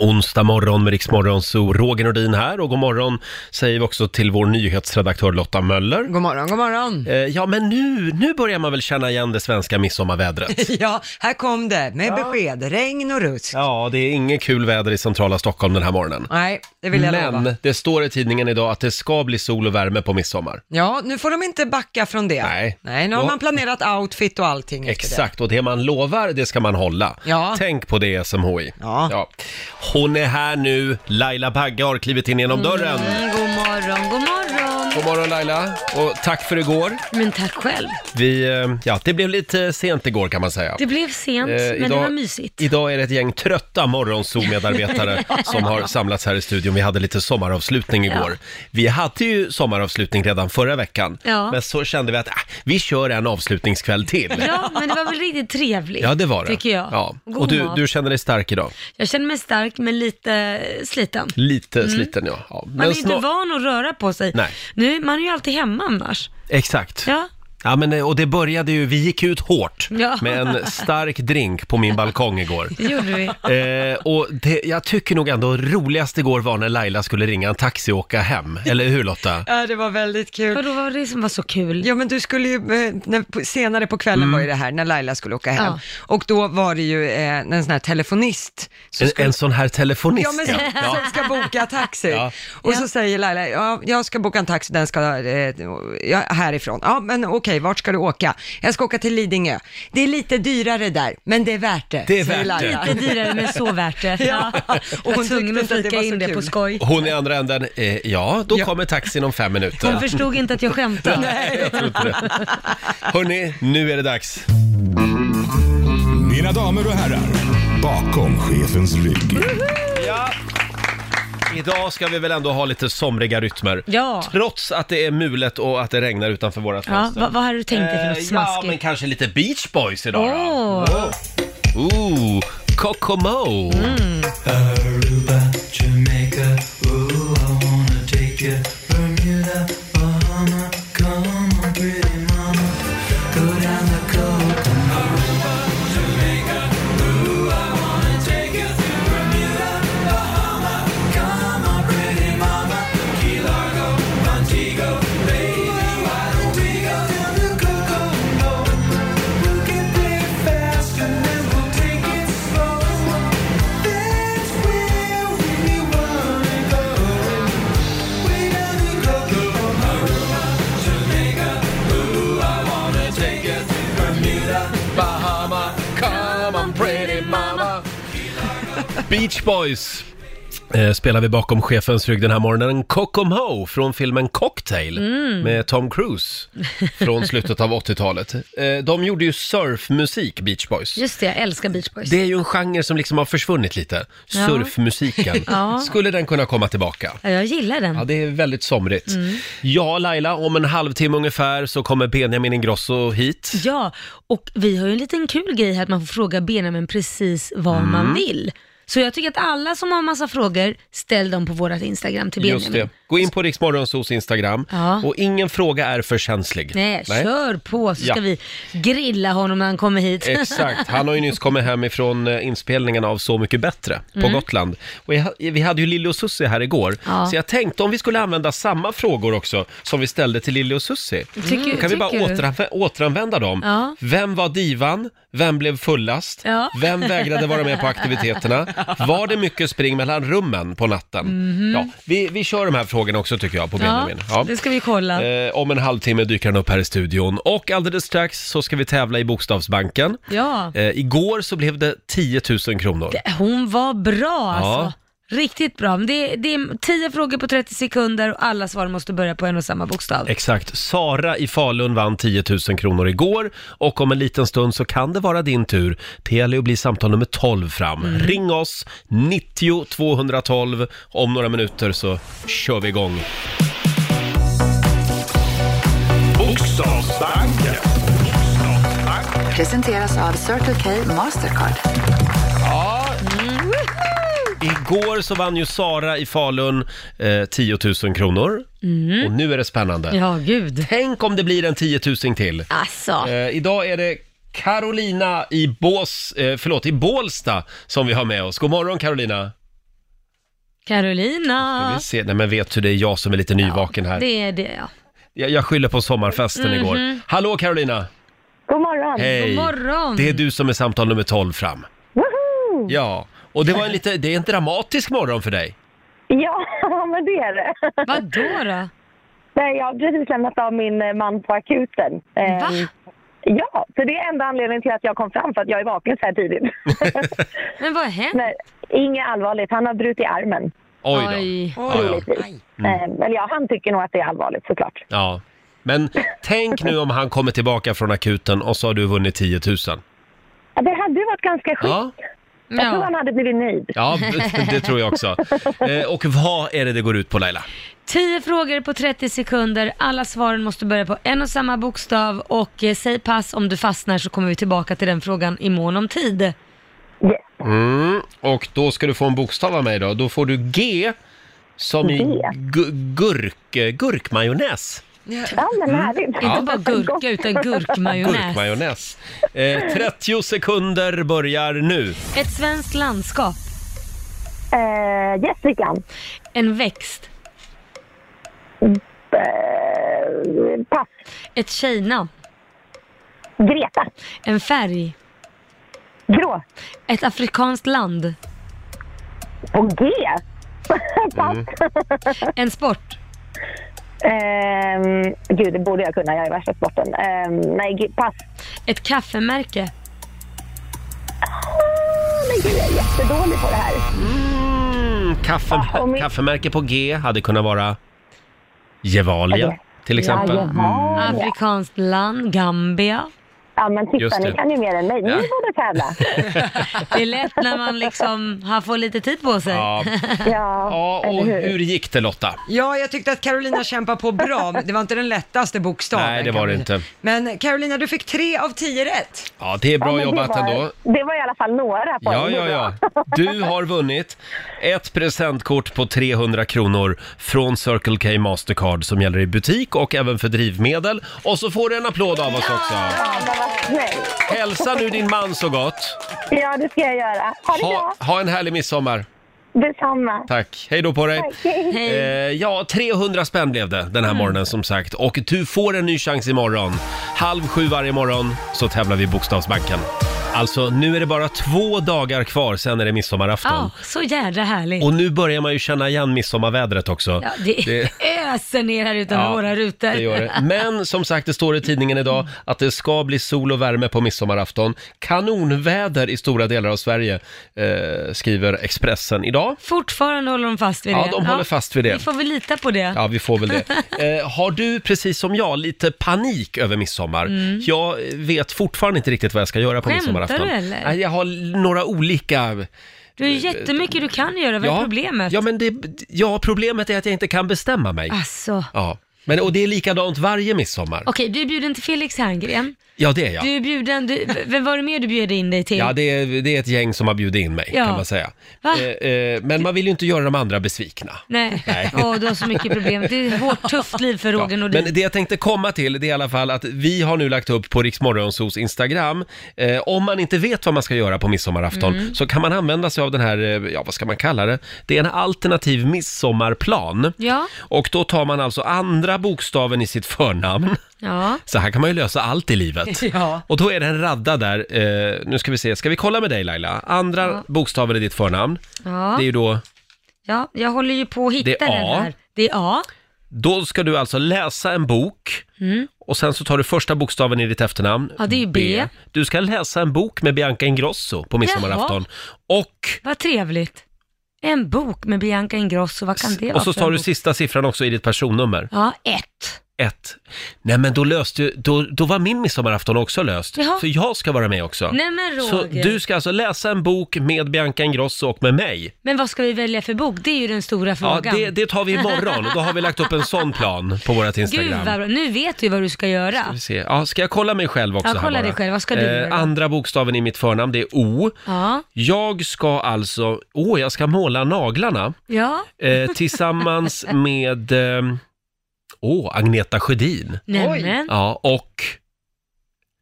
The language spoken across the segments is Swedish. Onsdag morgon med Riksmorgon, så Roger Nordin här och god morgon säger vi också till vår nyhetsredaktör Lotta Möller. God morgon, god morgon. Eh, ja, men nu, nu börjar man väl känna igen det svenska midsommarvädret. Ja, här kom det med besked. Regn och rusk. Ja, det är inget kul väder i centrala Stockholm den här morgonen. Nej, det vill jag lova. Men det står i tidningen idag att det ska bli sol och värme på midsommar. Ja, nu får de inte backa från det. Nej. Nej nu har Då- man planerat outfit och allting efter Exakt, och det man lovar, det ska man hålla. Ja. Tänk på det SMHI. Ja. Hon är här nu, Laila Bagge har klivit in genom dörren. Mm, god morgon, god morgon. God morgon Laila, och tack för igår. Men tack själv. Vi, eh, ja, det blev lite sent igår kan man säga. Det blev sent, Eh, men det var mysigt. Idag är det ett gäng trötta morgonzoo-medarbetare som har samlats här i studion. Vi hade lite sommaravslutning igår. Vi hade ju sommaravslutning redan förra veckan, Ja. men så kände vi att äh, vi kör en avslutningskväll till. Ja, men det var väl riktigt trevligt. Ja, det var det. Tycker jag. Ja. God Och du, mat. du känner dig stark idag? Jag känner mig stark, men lite sliten. Lite sliten, ja. ja. Mm. Man är ju snar- inte van att röra på sig. Nej. Nu, man är ju alltid hemma annars. Exakt. Ja. Ja, men, eh, och det började ju, vi gick ut hårt Ja. med en stark drink på min balkong igår. Det gjorde vi. Eh, och det, jag tycker nog ändå roligast igår var när Laila skulle ringa en taxi och åka hem. Eller hur Lotta? det. Ja, det var väldigt kul. Vadå, vad var det som var så kul? Ja, men du skulle ju, eh, när, på- senare på kvällen var ju det här, när Laila skulle åka hem. Ja. Och då var det ju eh, en sån här telefonist. som En, skulle- en sån här telefonist Ja, men som, ja. som ska boka taxi. Ja. Och så säger Laila, ja, jag ska boka en taxi, den ska eh, ja, härifrån. Ja, men okej, vart ska du åka? Jag ska åka till Lidingö. Det är lite dyrare där, men det är värt det, Det är säger värt det. Laila. Lite dyrare, men så värt det. Ja. Och Och hon hon tvungen tyckte att inte att det flika var så in det kul. på skoj. Hon i andra änden, eh, ja, då Ja. kommer taxin om fem Hon minuter. förstod inte att jag skämtade. Hörni, nu är det dags. Mina damer och herrar, bakom chefens rygg. Ja. Idag ska vi väl ändå ha lite somriga rytmer. Ja. Trots att det är mulet och att det regnar utanför våra Ja, fönster. vad, vad hade du tänkt dig för Eh, något ja, men smaskigt? kanske lite Beach Boys idag Åh. då. Ooh, Kokomo. Aruba, Jamaica, ooh, I wanna take you. Bermuda, Bahama, come on, pretty mama, go down the coast. Bahama, come on pretty mama. Beach Boys. Eh, spelar vi bakom chefens rygg den här morgonen. Kokomo från filmen Cocktail Mm. med Tom Cruise från slutet av 80-talet. Eh, de gjorde ju surfmusik, Beach Boys. Just det, jag älskar Beach Boys. Det är ju en genre som liksom har försvunnit lite, Ja. surfmusiken. Ja. Skulle den kunna komma tillbaka? Ja, jag gillar den. Ja, det är väldigt somrigt. Mm. Ja, Laila, om en halvtimme ungefär så kommer Benjamin Ingrosso hit. Ja, och vi har ju en liten kul grej här att man får fråga Benjamin precis vad Mm. man vill. Så jag tycker att alla som har massa frågor, ställ dem på vårt Instagram till Benjamin. Just det. Gå in på Riksmorgonsos Instagram Ja. och ingen fråga är för känslig. Nej, kör på så Ja. Eh, ska vi grilla honom när han kommer hit. Exakt, han har ju nyss kommit hem ifrån eh, inspelningen av Så mycket bättre på Gotland. Och jag, vi hade ju Lille och Susie här igår, Mm. Ja. så jag tänkte om vi skulle använda samma frågor också som vi ställde till Lille och Susie. Tycker- kan vi bara tycker du? återanv- återanvända dem? Ja. Vem var divan? Vem blev fullast? Ja. Vem vägrade vara med på aktiviteterna? Var det mycket spring mellan rummen på natten? Ja, vi, vi kör de här frågorna också tycker jag på Mhm. ja, Benjamin. det ska vi kolla. Eh, om en halvtimme dyker han upp här i studion. Och alldeles strax så ska vi tävla i Bokstavsbanken. Ja, Eh, igår så blev det 10 000 kronor. hon var bra Ja. alltså. Riktigt bra. Men Det, det är tio frågor på 30 sekunder och alla svar måste börja på en och samma bokstav. Exakt. Sara i Falun vann 10 000 kronor igår och om en liten stund så kan det vara din tur. Det gäller att bli samtal nummer 12 fram. Mm. Ring oss, 90 212. Om några minuter så kör vi igång. Bokstavsbanken. Presenteras av Circle K Mastercard. Igår så vann ju Sara i Falun eh, 10 000 kronor och nu är det spännande. Mm. Ja, gud. Tänk om det blir en 10 000 till. Alltså. Eh, idag är det Carolina i, Bås, eh, förlåt, i Bålsta som vi har med oss. God morgon Carolina! Carolina. Vi ser, nej men vet du, det är jag som är lite nyvaken här. Det är det, ja. Jag, jag skyller på sommarfesten igår. Hallå Carolina! God morgon! Hej! God morgon. Det är du som är samtal nummer 12 fram. Woho! Ja, och det var en lite, det är en dramatisk morgon för dig. Ja, men det är det. Vadå då? Nej, jag har precis lämnat av min eh, man på akuten. Eh, Va? Ja, så det är enda anledningen till att jag kom fram, för att jag är vaken så här tidigt. Men vad har hänt? Nej, inget allvarligt. Han har brutit armen, Oj då. Ja, ja. troligtvis. Mm. Eh, eller ja, han tycker nog att det är allvarligt såklart. Ja. Men tänk nu om han kommer tillbaka från akuten och så har du vunnit 10 000. Ja, Det hade ju varit ganska sjukt. Ja, Jag tror han hade blivit nöjd. ja det tror jag också. Eh, Och vad är det det går ut på Laila? 10 frågor på 30 sekunder. Alla svaren måste börja på en och samma bokstav och eh, säg pass om du fastnar så kommer vi tillbaka till den frågan i mån om tid. Yes. Mm, och då ska du få en bokstav av mig då. Då får du G som i G. gu- gurk, eh, gurkmajonnäs. Ja, men Mm. härligt. Inte bara gurka utan gurkmajonnäs. Gurkmajonnäs. Eh, 30 sekunder börjar nu. Mm, Ett svenskt landskap. Eh, Gästrikland. En växt. Eh, pass. Ett tjejnamn. Greta. En färg. Grå. Ett afrikanskt land. På G. pass. En sport. Ehm, gud, det borde jag kunna. Jag är värsta sporten. Ehm, nej, gud, pass. Ett kaffemärke. Ah, Men gud, jag är jättedålig på det här. Mm, kaffe, Ja, och min- Kaffemärke på G hade kunnat vara Gevalia till exempel. Jajamän. Ja, Afrikanskt land. Gambia. ja, men Just titta, det. ni kan ju mer än mig. Ni Ja. borde tävla. Det är lätt när man liksom har får lite tid på sig. Ja. Ja, ja, eller och hur gick det Lotta? Ja, jag tyckte att Carolina kämpade på bra. men Det var inte den lättaste bokstaven. Nej, det var det Carolina. inte. Men Carolina, du fick tre av tio rätt. Ja, det är Ja, bra men jobbat det var, ändå. Det var i alla fall några poäng. Ja, Det ja, var ja. bra. Du har vunnit ett presentkort på 300 kronor från Circle K Mastercard som gäller i butik och även för drivmedel. Och så får du en applåd av oss också. Ja, men vad snällt. Hälsa nu din man så gott. Ja, det ska jag göra. Ha det Ha, bra. ha en härlig midsommar. Detsamma. Tack. Hej då på dig. Tack, hej. Mm. Eh, ja, 300 spänn blev det den här morgonen som sagt. Och du får en ny chans imorgon. Halv sju varje morgon så tävlar vi i Bokstavsbanken. Alltså, nu är det bara två dagar kvar, sen är det midsommarafton. Ja, så jädra härligt. Och nu börjar man ju känna igen midsommarvädret också. Ja, det, öser ner här utanför Ja, våra rutor. det gör det. Men som sagt, det står i tidningen idag att det ska bli sol och värme på midsommarafton. Kanonväder i stora delar av Sverige, eh, skriver Expressen idag. Fortfarande håller de fast vid Ja, det. de håller fast vid det. Vi får väl lita på det. Ja, vi får väl det. Eh, har du, precis som jag, lite panik över midsommar? Jag vet fortfarande inte riktigt vad jag ska göra på Mm. Skämtar midsommarafton. du, eller? Nej, Jag har l- några olika... Du har ju jättemycket du kan göra. Vad är problemet? Ja, men det, ja, problemet är att jag inte kan bestämma mig. Alltså. Ja. Men, och det är likadant varje midsommar. Okej, du är bjuden till Felix Herngren. Ja, det är jag. Du är bjuden, du, v- vem var det mer du bjöd in dig till? Ja, det är, det är ett gäng som har bjudit in mig, Mm. Ja. kan man säga. Va? Eh, eh, men man vill ju inte göra de andra besvikna. Nej, Nej. Åh, du har så mycket problem. Det är ett hårt, tufft liv för Ja, Roger Nordin. men det jag tänkte komma till det är i alla fall att vi har nu lagt upp på Riksmorgonsos Instagram. Eh, om man inte vet vad man ska göra på midsommarafton Mm. så kan man använda sig av den här, eh, ja vad ska man kalla det? Det är en alternativ midsommarplan. Ja. Och då tar man alltså andra bokstaven i sitt förnamn. Ja. Så här kan man ju lösa allt i livet. Ja. Och då är det en radda där, eh, nu ska vi se, ska vi kolla med dig Laila? Andra bokstaven i ditt förnamn, Ja. det är ju då, ja, jag håller ju på att hitta Det är den A. här. Det är A. då ska du alltså läsa en bok och sen så tar du första bokstaven i ditt efternamn. Mm. Ja, det är ju B. Du ska läsa en bok med Bianca Ingrosso på midsommarafton. Och, Vad trevligt. En bok med Bianca Ingrosso, vad kan det och vara så för tar en du bok? sista siffran också i ditt personnummer. Ja, ett. Ett. Nej men då löste ju, då, då var min midsommarafton också löst. Jaha. För jag ska vara med också. Nej men Så Roger. du ska alltså läsa en bok med Bianca Ingrosso och med mig. Men vad ska vi välja för bok? Det är ju den stora Ja, frågan. det, det tar vi imorgon. Då har vi lagt upp en sån plan på vårt Gud Instagram. vad bra. Nu vet du vad du ska göra. Vi ser. Ja, ska jag kolla mig själv också? Ja, kolla här bara? Eh, dig själv. Vad ska du göra? Andra bokstaven i mitt förnamn, det är O. Ja, Jag ska alltså, åh, jag ska måla naglarna ja. eh, tillsammans med, eh, åh, Agneta Sjödin. Nämen. Ja, och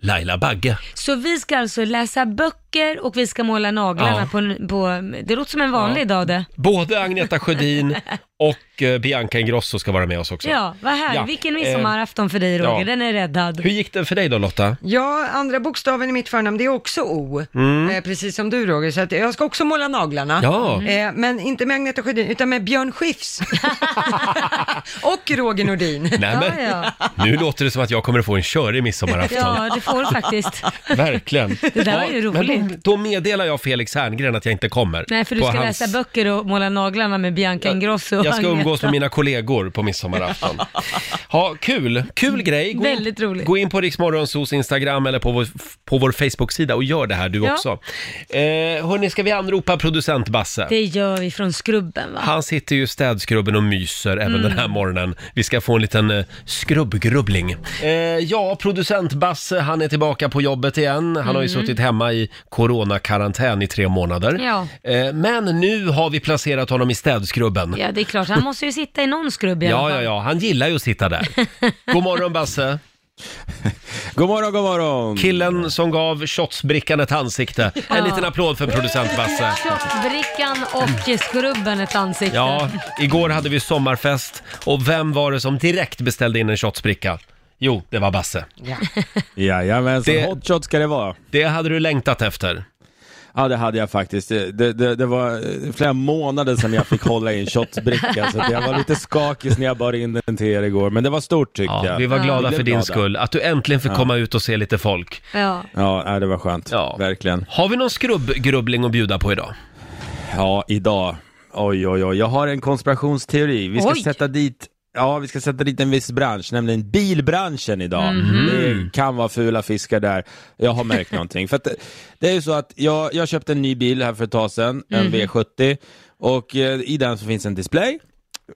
Laila Bagge. Så vi ska alltså läsa böcker socker och vi ska måla naglarna Ja. på, en- på... Det låter som en vanlig Ja. dag det. Både Agneta Sjödin och eh, Bianca Ingrosso ska vara med oss också. Ja, vad härligt. Ja. eh, Vilken midsommarafton för dig Roger, ja. den är räddad. Hur gick det för dig då Lotta? Ja, andra bokstaven i mitt förnamn, det är också O. Eh, precis som du Roger, så att jag ska också måla naglarna. Mm. Ja. Eh, men inte med Agneta Sjödin, utan med Björn Skifs. och Roger Nordin. Nej, men, Ja, Nu låter det som att jag kommer att få en körig midsommarafton. Ja, det får du faktiskt. Verkligen. Det där var ju men Då, roligt. då meddelar jag Felix Herngren att jag inte kommer. Nej, för du På ska hans- läsa böcker och måla naglarna med Bianca Ingrosso och Jag ska Agneta. umgås med mina kollegor på midsommarafton. Ja, kul. Kul grej. Gå, Väldigt roligt. Gå in på Riksmorgonsos Instagram eller på vår, på vår Facebook-sida och gör det här du Ja. också. Eh, hörni, ska vi anropa producent Basse? Det gör vi från Skrubben va? Han sitter ju i städskrubben och myser även den Mm. här morgonen. Vi ska få en liten eh, skrubbgrubbling. Eh, ja, producent Basse, han är tillbaka på jobbet igen. Han har Mm. ju suttit hemma i coronakarantän i tre månader. Ja. Eh, men nu har vi placerat honom i städskrubben. Ja, det är klart. Han måste ju sitta i någon skrubb i alla Ja, fall. ja, ja, han gillar ju att sitta där. God morgon Basse, God morgon, god morgon! killen som gav shotsbrickan ett ansikte. En liten applåd för producent Basse. Brickan och skrubben ett ansikte. Ja, igår hade vi sommarfest och vem var det som direkt beställde in en shotsbricka? Jo, det var Basse. Jajamensan, Det- det... hot shot ska det vara. Det hade du längtat efter. Ja, det hade jag faktiskt. Det, det, det var eh, flera månader sedan jag fick hålla i en shotsbricka, så att jag var lite skakig när jag bar in den till er igår. Men det var stort tycker Ja, jag. vi var glada blev för din skull, att du äntligen fick komma ut och se lite folk. Ja. Ja, nej, det var skönt. Ja. Verkligen. Har vi någon skrubbgrubbling att bjuda på idag? Ja, idag. Oj, oj, oj. Jag har en konspirationsteori. Vi ska Oj. sätta dit Ja, vi ska sätta dit en viss bransch, nämligen bilbranschen idag. Det kan vara fula fiskar där. Jag har märkt någonting. För att det- det är ju så att jag, jag köpte en ny bil här för ett tag sedan, en V70. Och eh, i den så finns en display.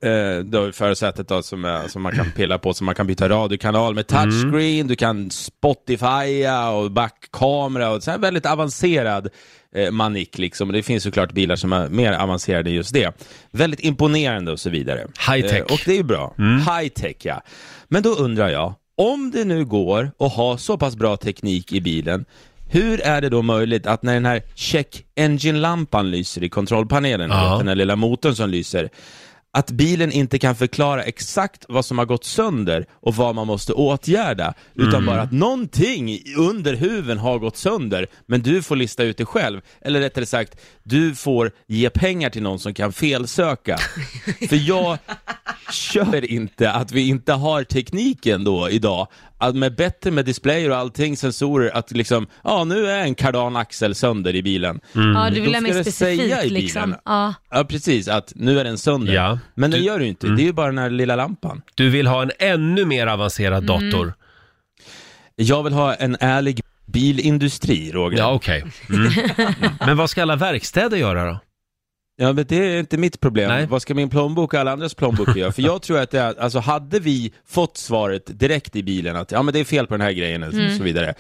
Eh, då förutsättet då som, är, som man kan pilla på, så man kan byta radiokanal med touchscreen, du kan spotifya och backkamera och så här väldigt avancerad eh, manik liksom. Och det finns såklart bilar som är mer avancerade än just det. Väldigt imponerande och så vidare. High-tech. Eh, Mm. och det är ju bra. High tech ja. Men då undrar jag, om det nu går att ha så pass bra teknik i bilen, hur är det då möjligt att när den här check engine-lampan lyser i kontrollpanelen, Ja. den här lilla motorn som lyser, att bilen inte kan förklara exakt vad som har gått sönder och vad man måste åtgärda, utan Mm. bara att någonting under huven har gått sönder, men du får lista ut det själv. Eller rättare sagt, du får ge pengar till någon som kan felsöka. För jag köper inte att vi inte har tekniken då idag, att med bättre med displayer och allting, sensorer, att liksom, ja nu är en kardan axel sönder i bilen. Mm. ja, du vill Då ha ska mer det Mm. säga i specifikt bilen. liksom. Ja. Ja precis, att nu är den sönder. Ja. Men Du- den Mm. gör du inte, det är ju bara den här lilla lampan. Du vill ha en ännu mer avancerad dator? Jag vill ha en ärlig bilindustri, Roger. Ja, Ja. okej. Mm. Men vad ska alla verkstäder göra då? men det är inte mitt problem. Nej. Vad ska min plånbok och alla andras plånböcker göra? För jag tror att det är, alltså hade vi fått svaret direkt i bilen att ja men det är fel på den här grejen och Mm. så vidare.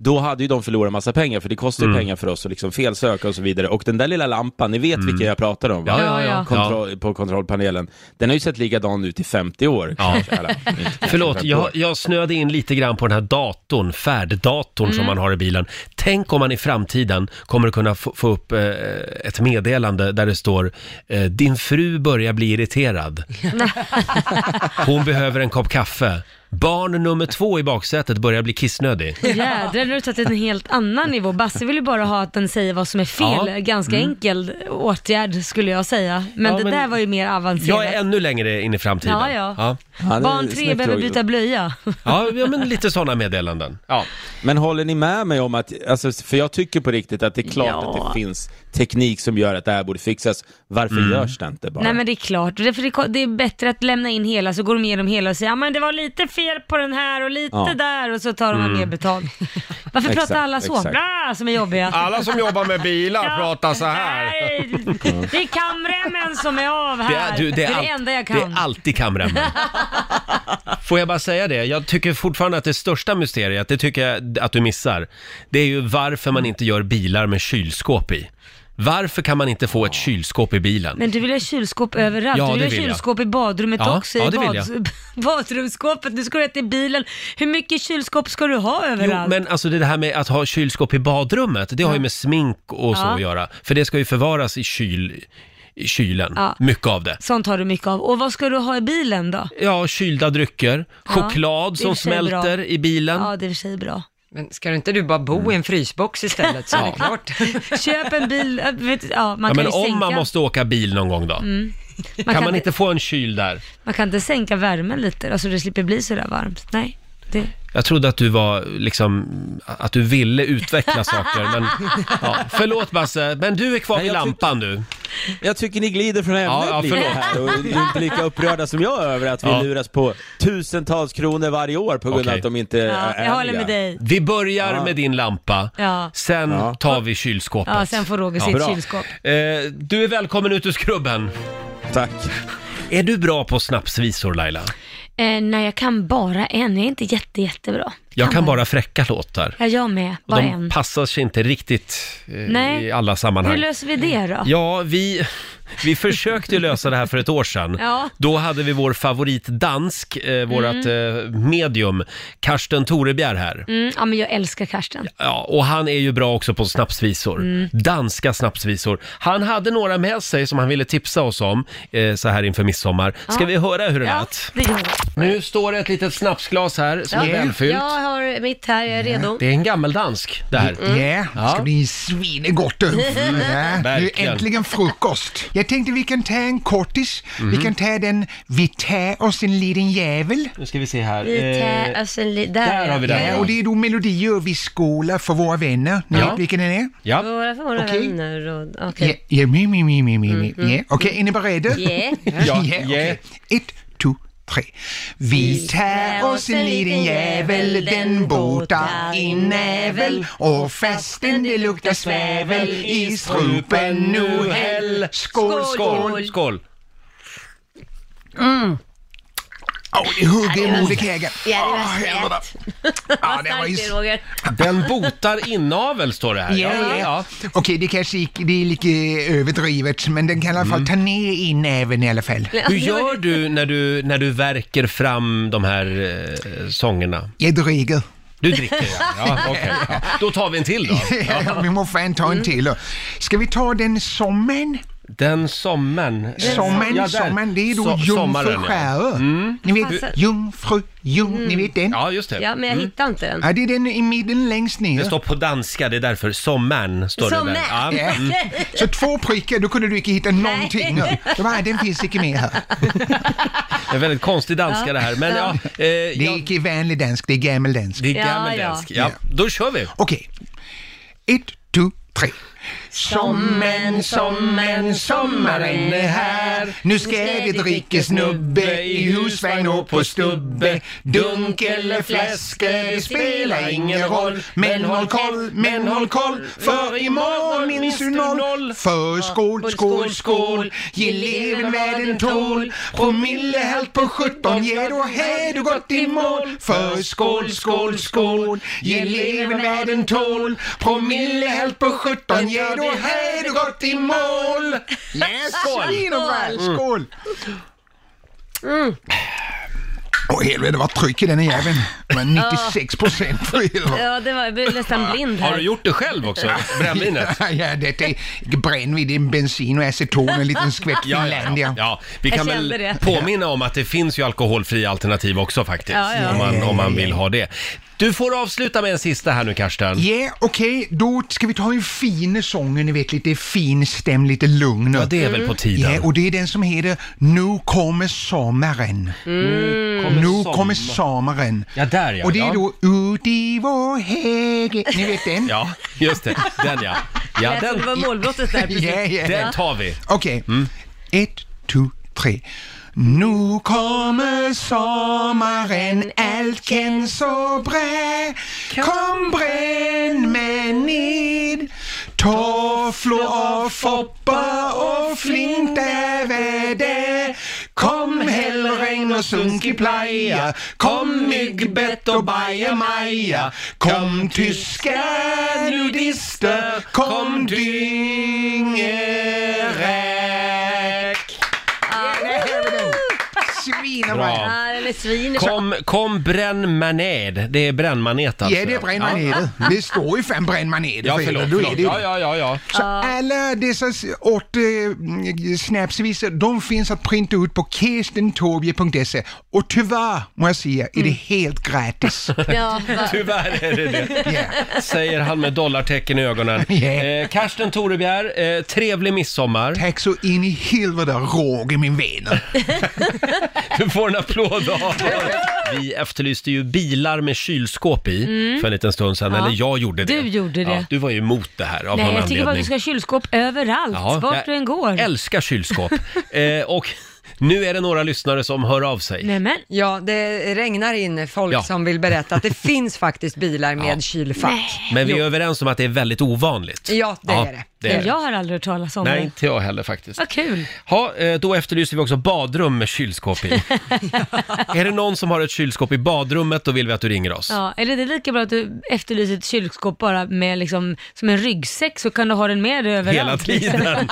Då hade ju de förlorat massa pengar, för det kostar Mm. ju pengar för oss att liksom felsöka och så vidare. Och den där lilla lampan, ni vet vilken jag pratar om va? Mm. Ja, ja, ja. Kontroll, På kontrollpanelen. Den har ju sett likadan ut i 50 år. kanske. Eller, inte- Förlåt, jag, jag snöade in lite grann på den här datorn, färddatorn Mm. som man har i bilen. Tänk om man i framtiden kommer att kunna få, få upp eh, ett meddelande där det står eh, “Din fru börjar bli irriterad”. Hon behöver en kopp kaffe. Barn nummer två i baksätet börjar bli kissnödig. Jädrar, nu har du tagit en helt annan nivå. Basse vill ju bara ha att den säger vad som är fel. Ja. Ganska Mm. enkel åtgärd skulle jag säga. Men Ja, det men- där var ju mer avancerat. Jag är ännu längre in i framtiden. Ja, ja. ja. Ja, det är Barn tre snyggt, behöver Roger. byta blöja. Ja, ja, men lite sådana meddelanden. Ja. Men håller ni med mig om att, alltså, för jag tycker på riktigt att det är klart Ja. Mm. att det finns teknik som gör att det här borde fixas. Varför görs det inte bara? Nej men det är klart, det är, för det, ko- det är bättre att lämna in hela så går de igenom hela och säger ja men det var lite fel på den här och lite Ja. Mm. där och så tar de mer betalt. Varför Exakt, pratar alla så? exakt. Ah, som är jobbiga. Alla som jobbar med bilar pratar så här. Nej, det är kamremmen som är av här. Det Det är, är, du, det, är det, all- enda jag det är kan. alltid kamremmen. Får jag bara säga det, jag tycker fortfarande att det största mysteriet, det tycker jag att du missar, det är ju varför man inte gör bilar med kylskåp i. Varför kan man inte få ett kylskåp i bilen? Men du vill ha kylskåp överallt. Ja, du vill det ha vill jag. kylskåp i badrummet Ja, också, ja, i det vill bad... badrumsskåpet. Du ska ha ett i bilen. Hur mycket kylskåp ska du ha Jo, överallt? men alltså det här med att ha kylskåp i badrummet, det har ju med smink och så Ja. att göra. För det ska ju förvaras i, kyl, i kylen, Ja. mycket av det. Sånt har du mycket av. Och vad ska du ha i bilen då? Ja, kylda drycker, choklad det är i som och för sig bra. smälter i bilen. Ja, det är i och för sig bra. Men ska du inte du bara bo i en frysbox istället så är det klart. Köp en bil, äh, vet, ja man Ja, kan men ju sänka, om man måste åka bil någon gång då, man, kan kan man inte få en kyl där? man kan inte sänka värmen lite, alltså det slipper bli sådär varmt. Nej, det, Jag trodde att du var liksom, att du ville utveckla saker, men ja. förlåt Basse, men du är kvar Nej, vid jag lampan nu. Jag tycker ni glider från ämnet Ja, ja, lite förlåt. här och ni är inte lika upprörda som jag över att vi Ja. luras på tusentals kronor varje år på grund av Okej. att de inte ja, är jag håller ärliga. med dig. Vi börjar med din lampa, Ja. sen Ja. tar vi kylskåpet. Ja, sen får Roger sitt bra. kylskåp. Eh, du är välkommen ut ur skrubben. Tack. Är du bra på snapsvisor Laila? Eh, nej, jag kan bara en, jag är inte jätte, jättebra. Jag kan bara fräcka låtar. Ja, jag med, Och bara de en. passar sig inte riktigt eh, Nej. i alla Hur sammanhang. löser vi det då? Ja, vi, vi försökte ju lösa det här för ett år sedan. Ja. Då hade vi vår favoritdansk, eh, vårat eh, medium, Karsten Torebjer här. Mm, ja, men jag älskar Karsten. Ja, och han är ju bra också på snapsvisor. Danska snapsvisor. Han hade några med sig som han ville tipsa oss om eh, så här inför midsommar. Ska vi höra hur det Ja, lät? det gör vi. Nu står det ett litet snapsglas här som är välfyllt. Jag har mitt här, jag är redo. Det är en gammeldansk det här. Ja, det ska bli svinegott. Mm. Ja, nu Verkligen. äntligen frukost. Jag tänkte vi kan ta en kortis. Vi kan ta den, vi tar oss en liten jävel. Nu ska vi se här. Vi tar Eh, alltså, oss en li- där. där har vi Ja, den. och det är då melodier och vi skålar för våra vänner. Ni Ja. vet vilken den är? Ja. Våra, våra Okej. vänner och... Okej. Ja, ja, mi, mi, mi, mi, mi, mi. Ja, Okej, är ni beredda? Yeah. Ja, Ja, ja. okej. Ett, två, tre. Vi tar oss en liten jävel, den botar i nävel och fastän det luktar svävel i strupen nu häll. Skål, skål! Skål! Skål! Åh, det hugger mot käken. Ja, det var Ah, Åh, helvete. Ja, det var ju... Tack Roger. Den botar inavel står det här. Ja, ja. Okej, det kanske gick, det är lite överdrivet, men den kan i alla fall ta ner i näven i alla fall. Alltså, Hur gör du när du, när du verkar fram de här eh, sångerna? Jag dricker. Du dricker ja. ja, okej. ja. Då tar vi en till då. Ja, vi må fan ta en till. Ska vi ta den sommen? Den sommaren. Sommaren, Ja, där. sommaren, det är då So- Jungfru sommaren, ja. Skärö. Ni vet, Alltså- Jungfru, Jung, ni vet den? Ja. Ja, just det. Ja, men jag hittar inte den. det är den i mitten längst ner. Det står på danska, det är därför sommaren står det där. Sommaren. Ja. Ja. Så två prickar, då kunde du inte hitta någonting. Det var, den finns inte med här. Det är väldigt konstig danska det här. Men ja, eh, Det är ja, inte vanlig dansk, det är gammeldansk. det är Ja, gammeldansk. Ja, då kör vi. Okej. Ett, två, tre. Sommen, sommen, sommaren är här. Nu ska det drickas snubbe i husvagn och på stubbe. Dunk eller fläsk, det spelar ingen roll. Men håll koll, men håll koll, för imorgon minns du noll. För skål, skål, skål, ge levern vad den tål. Promillehalt på 17, ja då har du gått i mål. För skål, skål, skål, ge levern vad den tål. Promillehalt på 17, ja då har du gått i mål. Yes, skål! Mm. Skål! Mm. Åh helvete vad tryck i den här jäveln. Det var 96 procent för helvete. Ja, det var, jag blev nästan blind här. Ah, Har du gjort det själv också? Brännvinet? Ja, ja, det är brännvin, det är bensin och aceton och en liten skvätt Finlandia. ja. Vi Jag kan väl kände det. påminna om att det finns ju alkoholfria alternativ också faktiskt. Ja, ja. Om, man, om man vill ha det. Du får avsluta med en sista här nu Karsten. Ja, okej, då ska vi ta en fin sång, ni vet lite fin stäm, lite lugn. Ja, det är väl på tiden. Ja, och det är den som heter Nu kommer sommaren. Kommer nu sommar- kommer sommaren. Mm. Ja, där ja. Och det är ja. då Ut i vår häge. Ni vet den? Ja, just det. Den ja. Ja, Jag trodde det den, var målbrottet där precis. Ja, ja. den tar vi. Okej. Mm. Ett, två, tre. Nu kommer sommaren, allt känns så bra. Kom bränn mig ned. Tofflor och foppar och flinta väder. Kom hellre regn och sunkig playa. Kom myggbett och bajamaja. Kom tyska nudister. Kom dyngeräk. Svin och bajs. Ja, den är svin. Kom, kom brännmaned. Det är brännmanet alltså. Ja, det är brännmanetet. Det står ju fan brännmanetet. Ja, för förlåt, helvete. Då förlåt. är det ju Ja, ja, ja, ja. Så alla dessa åt eh, snapsvisor, de finns att printa ut på kirstentobje.se och tyvärr må jag säga är det helt gratis. Ja, Tyvärr är det det. Ja. Säger han med dollartecken i ögonen. Eh, Karsten Torebjer, eh, trevlig midsommar. Tack så in i helvete Roger min vän. Du får en applåd av oss. Vi efterlyste ju bilar med kylskåp i Mm. för en liten stund sedan, Ja. eller jag gjorde det. Du gjorde det. Ja, du var ju emot det här av Nej, någon jag tycker bara anledning. du ska ha kylskåp överallt, Ja, vart jag du än går. Älskar kylskåp. eh, och nu är det några lyssnare som hör av sig. Ja, det regnar in folk Ja. som vill berätta att det finns faktiskt bilar med kylfack. Men vi är Jo. överens om att det är väldigt ovanligt. Ja, det är det. är det. Jag har aldrig hört talas om Nej, det. inte jag heller faktiskt. Vad kul. Ha, eh, då efterlyser vi också badrum med kylskåp i. är det någon som har ett kylskåp i badrummet, då vill vi att du ringer oss. Ja, eller det är lika bra att du efterlyser ett kylskåp bara med liksom, som en ryggsäck så kan du ha den med dig överallt. liksom. Hela tiden.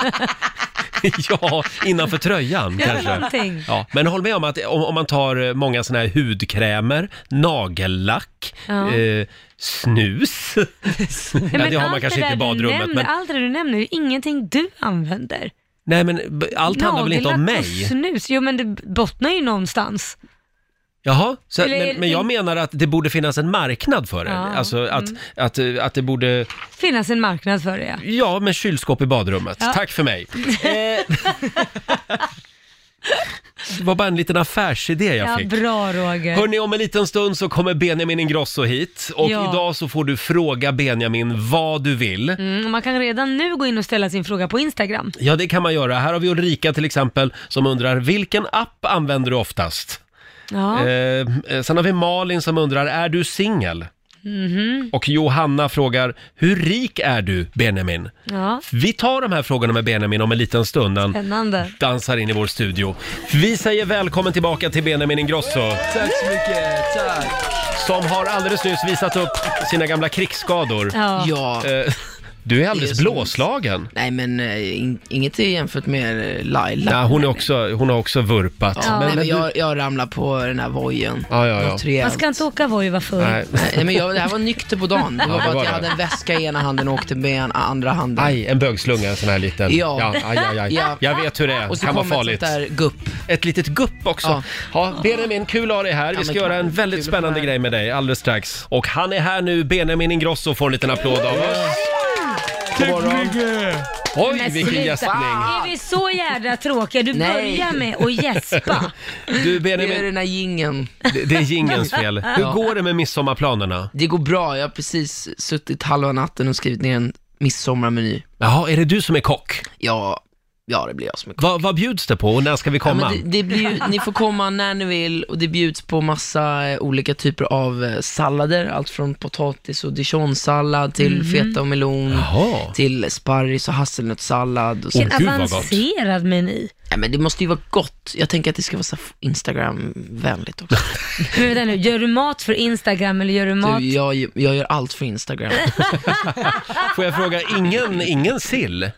ja, innanför tröjan Ja, kanske. någonting. Ja, men håll med om att om, om man tar eh, många såna här hudkrämer, nagellack, Ja. eh, snus. Nej, ja, men det har allt man kanske det inte i där du badrummet. Nämner, Men, Allt det där du nämner är ju ingenting du använder. nej, men b- allt handlar väl inte om Nagellack mig? Och snus, jo men det bottnar ju någonstans. Jaha, så, Eller är men, det- men jag menar att det borde finnas en marknad för det. Ja, Alltså att, mm. att, eh, att det borde... Finnas en marknad för det ja. Ja, med kylskåp i badrummet. Ja. Eh. Tack för mig. Det var bara en liten affärsidé jag Ja, fick. bra Roger. Hörni, om en liten stund så kommer Benjamin Ingrosso hit och Ja. idag så får du fråga Benjamin vad du vill. Mm, och man kan redan nu gå in och ställa sin fråga på Instagram. Ja, det kan man göra. Här har vi Ulrika till exempel som undrar vilken app använder du oftast? Ja. Eh, eh, sen har vi Malin som undrar, är du singel? Mhm. Och Johanna frågar, hur rik är du Benjamin? ja. Vi tar de här frågorna med Benjamin om en liten stund. Han Spännande. dansar in i vår studio. Vi säger välkommen tillbaka till Benjamin Ingrosso Tack så mycket, tack! som har alldeles nyss visat upp sina gamla krigsskador. Ja. Ja. Eh, Du är alldeles Det är så- blåslagen. Nej men eh, in, inget är jämfört med eh, Laila. Nej, hon, är också, hon har också vurpat. Ja, nej, men du- jag, jag ramlade på den här vojen. Ja, ja, ja. Något rejält. Man ska inte åka Voi var förr. Nej. Nej, men jag, det här var nykter på dagen. Det Ja, var det bara var att jag det. hade en väska i ena handen och åkte med en, andra handen. Aj, en bögslunga, en sån här liten. Ja. aj, aj, aj. Ja. Jag vet hur det är. Och så kan vara kom ett farligt. sånt där gupp. Ett litet gupp också. Ja. Benjamin, kul att ha dig här. Vi Ja, ska men göra en kul. väldigt Kul att spännande vara här. grej med dig alldeles strax. Och han är här nu, Benjamin Ingrosso får en liten applåd av oss. God morgon. Oj, Men vilken sluta. gäspning. Är vi så jädra tråkiga? Du Nej. börjar med att gäspa. Du Det är Benjamin, den här gingen. det, det är jingens fel. Hur Ja. går det med midsommarplanerna? Det går bra, jag har precis suttit halva natten och skrivit ner en midsommarmeny. Jaha, är det du som är kock? Ja, ja det blir jag som är kock. Vad, vad bjuds det på och när ska vi Ja, komma? men det, det blir ju, ni får komma när ni vill och det bjuds på massa eh, olika typer av eh, sallader, allt från potatis och dijonssallad till Mhm. feta och melon, Jaha. till sparris och hasselnötssallad. Och så. Vilken avancerad meny. Ja, men det måste ju vara gott. Jag tänker att det ska vara så här Instagram-vänligt också. Men vänta nu, gör du mat för Instagram eller gör du mat? Du, jag, jag gör allt för Instagram. Får jag fråga, ingen, ingen sill?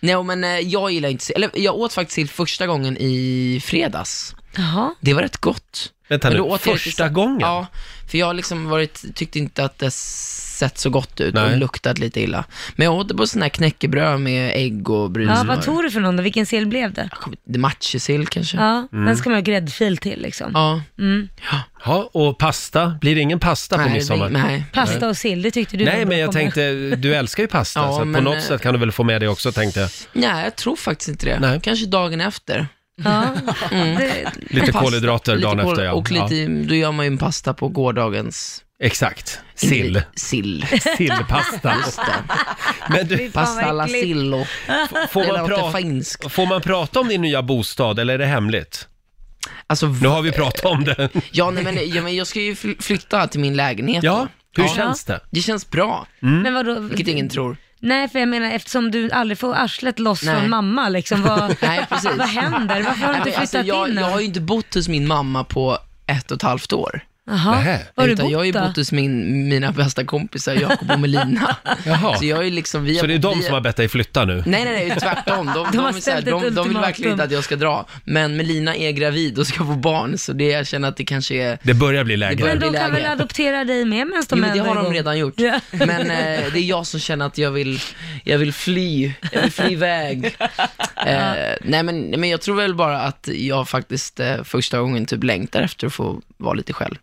Nej, men eh, jag gillar inte sill. Eller jag åt faktiskt sill första gången i fredags. Jaha. Det var rätt gott. Vänta Men nu, då åt jag lite första så- gången? Ja, för jag har liksom varit, tyckte inte att det sett så gott ut Nej. och luktat lite illa. Men jag åt det på sån här knäckebröd med ägg och Ja, brunsmör. vad tog du för någon då? Vilken sill blev det? Det är Matjessill kanske. Ja, Mm. den ska man ha gräddfil till liksom. Ja. Mm. Ja, och pasta? Blir det ingen pasta på Nej, det- midsommar? nej. Pasta och sill, det tyckte du var Nej, en bra men jag kombination. tänkte, du älskar ju pasta, Ja, så att på men, något eh, sätt kan du väl få med det också, tänkte jag. Nej, jag tror faktiskt inte det. Kanske dagen efter. Ja. Mm. Det, Lite Pasta. kolhydrater Lite dagen kol- efter, ja. Och lite, då gör man ju en pasta på gårdagens Exakt. Sill. sill. Sillpasta. Men du, Pasta vad alla äckligt. sillo. får, Det man låter pra- finskt. får man prata om din nya bostad, eller är det hemligt? Alltså, Nu har vi pratat om det. Ja, nej, men, ja, men jag ska ju fly- flytta till min lägenhet. Ja, då. hur känns det? Det känns bra, Mm. men vadå? vilket ingen tror. Nej, för jag menar eftersom du aldrig får arslet loss Nej. från mamma liksom, vad, Nej, precis. vad händer? Varför har du inte Nej, flyttat alltså, jag, in Jag än? har ju inte bott hos min mamma på ett och ett halvt år. Jaha. Nähä. Var har du Utan jag har ju bott då? bott hos min, mina bästa kompisar Jakob och Melina. Jaha. Så jag är ju liksom, vi Så det är de vi- Mm. som har bett dig flytta nu? Nej, nej, nej, tvärtom. De, de, har är så här, ställt ett de, de vill ultimatum. verkligen inte att jag ska dra. Men Melina är gravid och ska få barn, så det, jag känner att det kanske är... Det börjar bli läge. börjar Men bli de kan läge. väl adoptera dig med medan de jo, men det ändå har är de igång? redan gjort. Ja. Men eh, det är jag som känner att jag vill, jag vill fly, jag vill fly iväg. Eh, nej, men, nej, men jag tror väl bara att jag faktiskt eh, första gången typ längtar efter att få vara lite själv.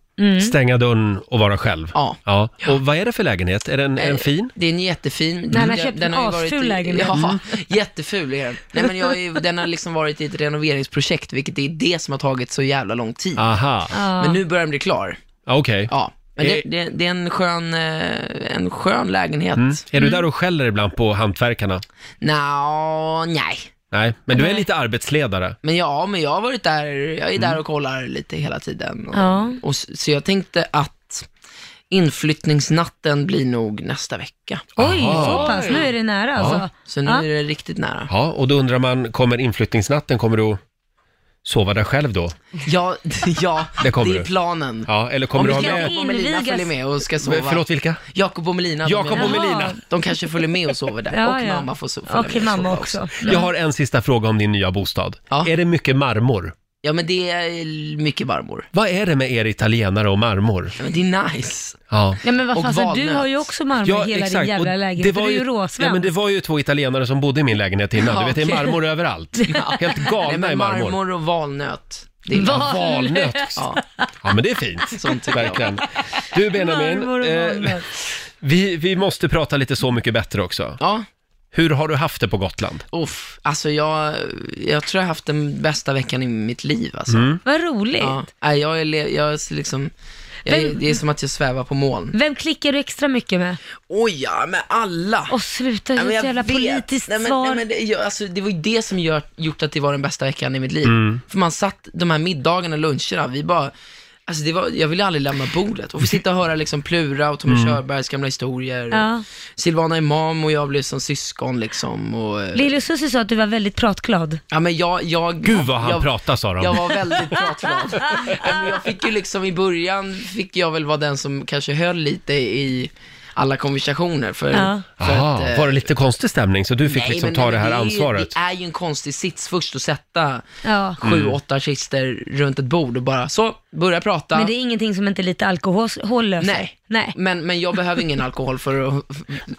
Stänga dörren och vara själv? Mm. Ja. ja. Och vad är det för lägenhet? Är den en Eh, fin? Det är en jättefin. Nej, han har Den- köpt den en ju varit asful i- lägenhet. Ja, Mm. jätteful är den. Nej, men jag är, ju- den har liksom varit i ett renoveringsprojekt, vilket är det som har tagit så jävla lång tid. Aha. Ja. Men nu börjar den bli klar. Ja, Okej. Ja. Men det, Eh, det, det är en skön, eh, en skön lägenhet. Mm. Är du där och skäller ibland på hantverkarna? Nå, nej. Nej, men du är Nej. lite arbetsledare. Men ja, men jag har varit där, jag är Mm. där och kollar lite hela tiden. Och, Ja. och, s- så jag tänkte att inflyttningsnatten blir nog nästa vecka. Oj, Aha. så pass. Nu är det nära alltså. Så nu Ja. är det riktigt nära. Ja, och då undrar man, kommer inflyttningsnatten, kommer du att sova där själv då? Ja, ja Det det, kommer är du. planen. Ja, eller kommer du ha Om med... Jakob och Melina Invigas. följer med och ska sova. Förlåt, vilka? Jakob och Melina. de Jakob är- och Jaha. Melina. De kanske följer med och sover där. Ja, och ja. mamma får so- följa Och med och mamma sova också. Jag har en sista fråga om din nya bostad. Ja. Är det mycket marmor? Ja, men det är mycket marmor. Vad är det med er italienare och marmor? Ja, men det är nice. Ja. Ja men vad Och fan, så du valnöt. har ju också marmor i hela din Och jävla lägenhet, för du är ju råsvensk. ja, men det var ju två italienare som bodde i min lägenhet innan. Ja, du vet, det är okej. marmor överallt. Helt galna Nej, men i marmor. marmor och valnöt. Det är Ja, valnöt. Ja, Ja, men det är fint. sånt tycker jag. Verkligen. Du Marmor Benjamin, och eh, valnöt. vi, vi måste prata lite Så mycket bättre också. Ja, Hur har du haft det på Gotland? uff. Alltså jag, jag tror jag har haft den bästa veckan i mitt liv alltså. Vad roligt. Ja. Nej, jag är, le- jag är liksom, jag, är- Vem- det är som att jag svävar på moln. Vem klickar du extra mycket med? Mm. Oj, ja, med alla. Åh sluta, Ja, ge men ett jag jävla vet. politiskt nej, men, svar. Nej, men det, jag, alltså, det var ju det som gör, gjort att det var den bästa veckan i mitt liv. För man satt de här middagarna, luncherna, vi bara, alltså det var, jag ville aldrig lämna bordet. Och få sitta och höra liksom Plura och Tommy Körbergs gamla historier. Ja. Och Silvana Imam och jag blev som syskon liksom. Och, eh, Lille Susie sa att du var väldigt pratglad. ja, men jag, jag, Gud vad han jag, pratar sa de. Jag var väldigt pratglad. Nej, men jag fick ju liksom i början, fick jag väl vara den som kanske höll lite i alla konversationer. För, Ja. för Aha, att, eh, Ah, var det lite konstig stämning så du fick liksom men- ta men det här är ju- ansvaret? Mm. Det är ju en konstig sits först att sätta Ja. sju, åtta artister runt ett bord och bara så, börja prata. Men det är ingenting som inte lite alkohol löser. Nej. Nej. Men, men jag behöver ingen alkohol för att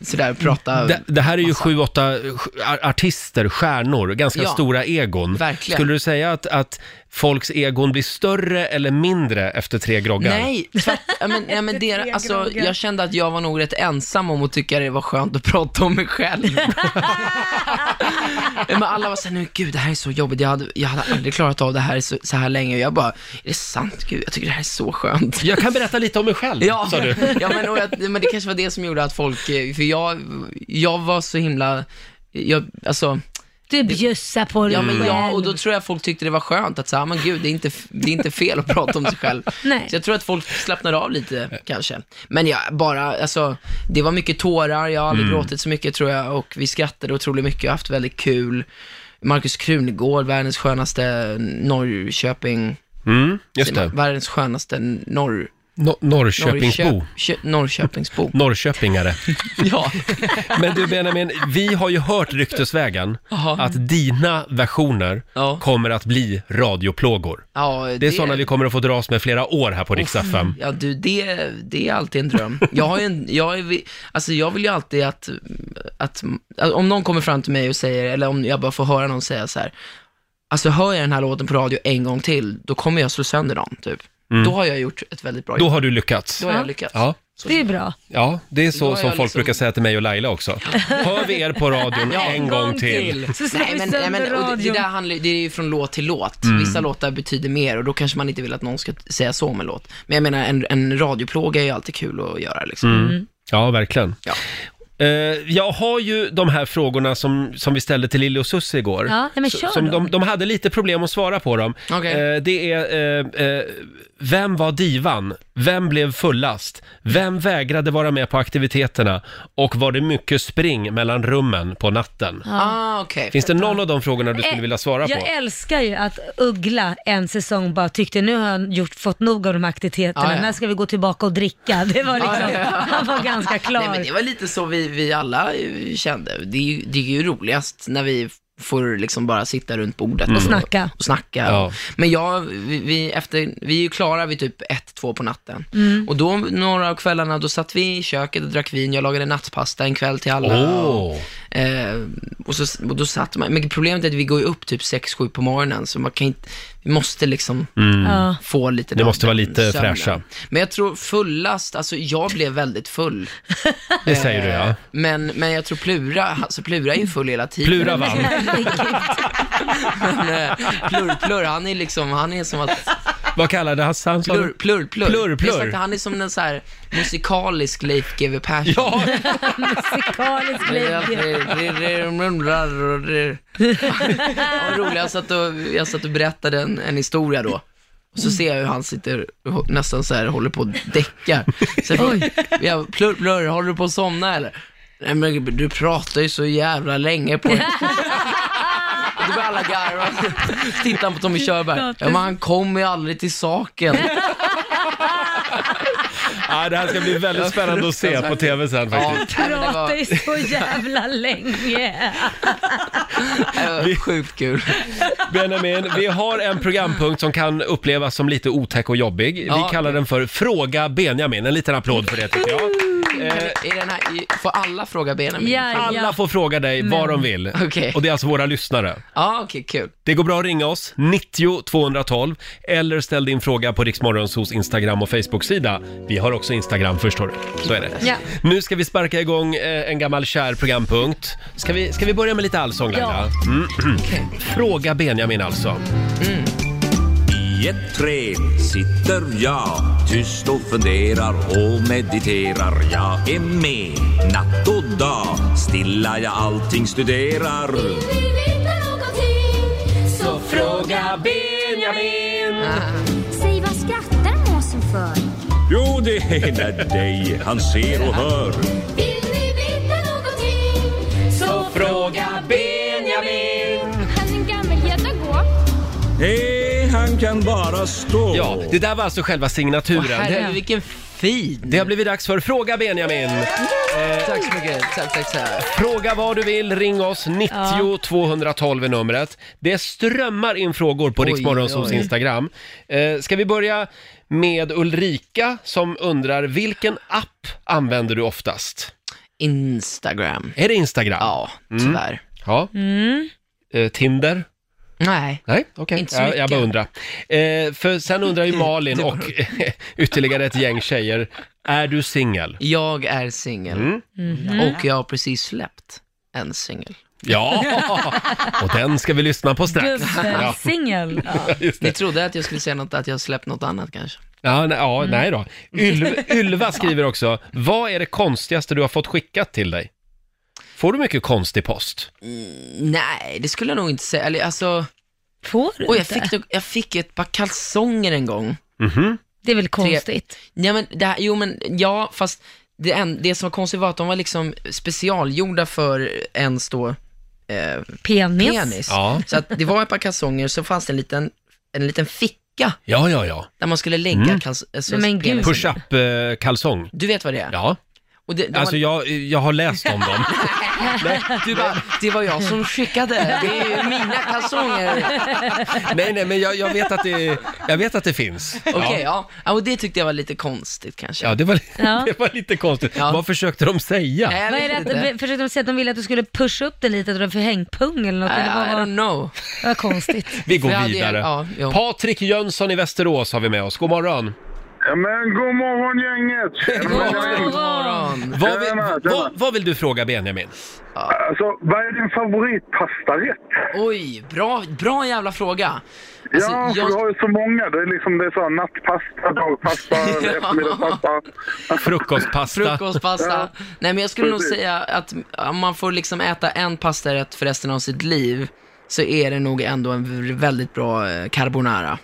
sådär prata. Det, det här är ju sju, åtta eh, ar- artister, stjärnor, ganska Ja, stora egon. verkligen. Skulle du säga att, att folks egon blir större eller mindre efter tre groggar? Nej, tvärt, ja, men, nej, men deras, alltså, jag kände att jag var nog rätt ensam om att tycka det var skönt att prata om mig själv. men alla var såhär, nu gud det här är så jobbigt, jag hade, jag hade aldrig klarat av det här så, så här länge. Och jag bara, är det sant? Gud, jag tycker det här är så skönt. Jag kan berätta lite om mig själv, Ja, sa du. ja men, och jag, men det kanske var det som gjorde att folk, eh, för jag, jag var så himla, jag, alltså, Du bjussar på dig ja, men jag, själv. och då tror jag folk tyckte det var skönt att säga, men gud, det är, inte, det är inte fel att prata om sig själv. Nej. Så jag tror att folk slappnade av lite kanske. Men jag bara, alltså, det var mycket tårar, jag har aldrig Mm. gråtit så mycket tror jag, och vi skrattade otroligt mycket och haft väldigt kul. Markus Krunegård, världens skönaste Norrköping, Mm, just det. världens skönaste norr, No- Norrköpingsbo. Norrköp- Kö- Norrköpingsbo. Norrköpingare. ja. Men du Benjamin, vi har ju hört ryktesvägen Jaha. att dina versioner Ja. kommer att bli radioplågor. Ja, Det är sådana vi kommer att få dras med flera år här på Rix FM. Ja du, det, Eh, det är alltid en dröm. Jag, har ju en, jag, är, alltså jag vill ju alltid att, att, att, om någon kommer fram till mig och säger, eller om jag bara får höra någon säga så här, alltså hör jag den här låten på radio en gång till, då kommer jag slå sönder dem, typ. Då har jag gjort ett väldigt bra Mm. Då jobb. har du lyckats. Då har jag lyckats. Ja. Det är bra. Ja, det är så Då har som jag folk liksom- brukar säga till mig och Laila också. Hör vi er på radion en gång till. Så slår Nej, vi men, nej, men, sönder och det, det, radion. där handlar, det är ju från låt till låt. Mm. Vissa låtar betyder mer och då kanske man inte vill att någon ska t- säga så om en låt. Men jag menar, en, en radioplåga är ju alltid kul att göra liksom. Ja, verkligen. Ja. Eh, jag har ju de här frågorna som, som vi ställde till Lili och Susie igår. Ja, nej, men S- kör som dem. de, de hade lite problem att svara på dem. Eh, det är, eh, eh, vem var divan? Vem blev fullast? Vem vägrade vara med på aktiviteterna? Och var det mycket spring mellan rummen på natten? Ah, okej. Finns det någon av de frågorna du skulle Eh, vilja svara på? Jag älskar ju att Uggla en säsong bara tyckte nu har jag gjort, fått nog av de här aktiviteterna, Ja, ja. när ska vi gå tillbaka och dricka? Det var liksom, Ja, ja, ja. han var ganska klar. Nej, men det var lite så vi, vi alla eh, kände. Det är, ju, det är ju roligast när vi får liksom bara sitta runt bordet Och snacka. Och snacka. Mm. Men jag, vi, vi, efter, vi är ju klara vid typ ett två på natten. Mm. Och då några av kvällarna, då satt vi i köket och drack vin. Jag lagade nattpasta en kväll till alla. Åh. Och, eh, och, så, och då satt man, men problemet är att vi går ju upp typ sex sju på morgonen, så man kan inte, vi måste liksom Mm. Ja. få lite Ni den- måste vara lite den sömnen. fräscha. Men jag tror fullast, alltså jag blev väldigt full. Det säger du ja. Men, men jag tror Plura, alltså Plura är ju full hela tiden. Plura vann. men eh, Plur, Plur, han är liksom, han är som att... Vad kallade han han sa- Plur, plur, plur. Plur, plur. Det är sagt att han är som en så här musikalisk Leif GW Persson. Ja. Musikalisk Vad roligt, jag satt och, jag satt och berättade en, en historia då. Och så ser jag hur han sitter och nästan så här håller på och däckar. Så jag, frågar, jag, plur, plur, håller du på att somna eller? Nej men du pratar ju så jävla länge på det. Och Då börjar alla garva. Tittar han på Tommy Körberg. Ja men han kommer ju aldrig till saken. Ja, det här ska bli väldigt spännande att se på tv sen faktiskt. Pratar ju så jävla länge. Sjukt kul. Benjamin, vi har en programpunkt som kan upplevas som lite otäck och jobbig. Vi Ja. kallar den för Fråga Benjamin. En liten applåd för det tycker jag. Eh, är den här, får alla fråga Benjamin? Alla får fråga dig vad de vill. Och det är alltså våra lyssnare. Ja, okej, kul. Det går bra att ringa oss, 90 212, eller ställ din fråga på Riksmorgonsos Instagram och Facebook-sida. Vi har också Instagram förstår du. Så är det. Ja. Nu ska vi sparka igång eh, en gammal kär programpunkt. Ska vi, ska vi börja med lite allsång Laila? Mm. Fråga Benjamin alltså. I ett träd sitter jag tyst och funderar och mediterar. Jag är med natt och dag, stilla jag allting studerar. Så fråga Benjamin. Säg vad skrattar måsen för? Jo, det är när dig han ser och hör. Vill ni veta någonting? Så fråga Benjamin. Han är en gammal gädda gå. Nej, han kan bara stå. Ja, det där var alltså själva signaturen. Åh, herregud, vilken fin! Det har blivit dags för Fråga Benjamin. Tack så mycket. Tack, tack, tack. Fråga vad du vill, ring oss. 90 212 är numret. Det strömmar in frågor på Oj, Riksmorgonsols oj. Instagram. Eh, ska vi börja med Ulrika som undrar vilken app använder du oftast? Instagram. Är det Instagram? Ja, Mm. tyvärr. Ja. Eh, Tinder? Nej. Nej, okej. Inte så Ja, jag mycket. bara undrar. Eh, för sen undrar ju Malin och ytterligare ett gäng tjejer, är du singel? Mm. Jag är singel. Och jag har precis släppt en singel. Ja, och den ska vi lyssna på strax. Ja. Gubbsingel. Ja. Just det. Ni trodde att jag skulle säga något, att jag har släppt något annat kanske? Ja, nej, ja, nej då. Ylva, Ylva skriver också, vad är det konstigaste du har fått skickat till dig? Får du mycket konstig post? Nej, det skulle jag nog inte säga. Eller alltså... Får du och jag inte? fick, nog- jag fick ett par kalsonger en gång. Det är väl konstigt? Ja, men det här, jo, men ja, fast det, en, det som var konstigt var att de var liksom specialgjorda för ens då eh, Penis. Ja. Så att det var ett par kalsonger, så fanns det en liten, en liten ficka Ja, ja, ja. där man skulle lägga Mm. kals- alltså, penisen. Push-up-kalsong. Du vet vad det är? Ja. Och det, de Alltså var, jag, jag har läst om dem. Du bara, det var jag som skickade, det är ju mina kalsonger. Nej, nej, men jag, jag, vet, att det, jag vet att det finns. Okej, ja. ja. Och det tyckte jag var lite konstigt kanske. Ja, det var, Ja. det var lite konstigt. Vad försökte de säga? Nej, jag Vad är vet det att, försökte de säga att de ville att du skulle pusha upp den lite, att du hade förhängpung eller något? I, I eller vad var- don't know. Det var konstigt. Vi går För jag hade- vidare. ja, jo. Patrik Jönsson i Västerås har vi med oss. God morgon. Ja, men god morgon gänget! God Mm. morgon! Vad vill, vad, vad vill du fråga Benjamin? Alltså, vad är din favoritpastarätt? Oj, bra, bra jävla fråga. ja, för du har ju så många. Det är liksom det är så här, nattpasta, dagpasta, eftermiddagspasta. Frukostpasta. Frukostpasta. Ja. Nej, men jag skulle nog Precis. säga att om man får liksom äta en pastarätt för resten av sitt liv så är det nog ändå en v- väldigt bra eh, carbonara.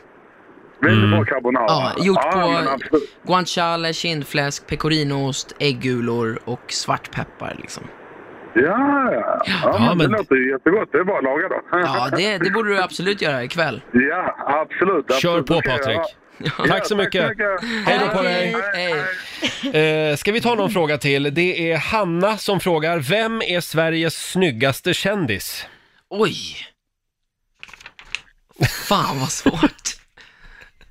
Mm. Väldigt bra carbonara. Ja, gjort men på absolut. guanciale, kindfläsk, pecorinoost, äggulor och svartpeppar liksom. Ja, ja. ja, men det låter ju jättegott. Det är bara att laga då. Ja, det, det borde du absolut göra ikväll. Ja, absolut. Kör absolut. på, Det ska jag Patrik. göra. Ja. Tack så mycket. Hej då på dig. Hej. Eh, ska vi ta någon fråga till? Det är Hanna som frågar, vem är Sveriges snyggaste kändis? Oj! Fan vad svårt.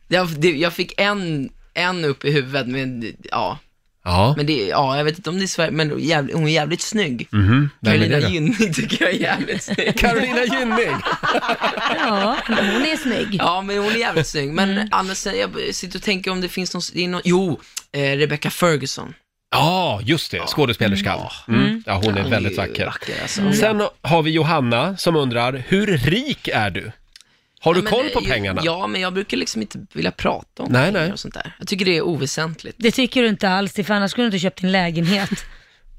Jag, det, jag fick en, en upp i huvudet, men ja. Ja. Men det, ja, jag vet inte om det är Sverige, men jävligt, hon är jävligt snygg. Mhm, vem är det Carolina då? Gynning tycker jag är jävligt snygg. Carolina Gynning? Ja, hon är snygg. Ja, men hon är jävligt snygg. Men annars, sen, jag sitter och tänker om det finns någon, det är någon jo, eh, Rebecca Ferguson. Ja, just det, skådespelerskan. Mm. Ja, hon är väldigt vacker. alltså. Sen har vi Johanna som undrar, hur rik är du? Har du Ja, men, koll på eh, pengarna? Ja, men jag brukar liksom inte vilja prata om Nej, pengar nej. och sånt där. Jag tycker det är oväsentligt. Det tycker du inte alls, för annars skulle du inte köpt din lägenhet.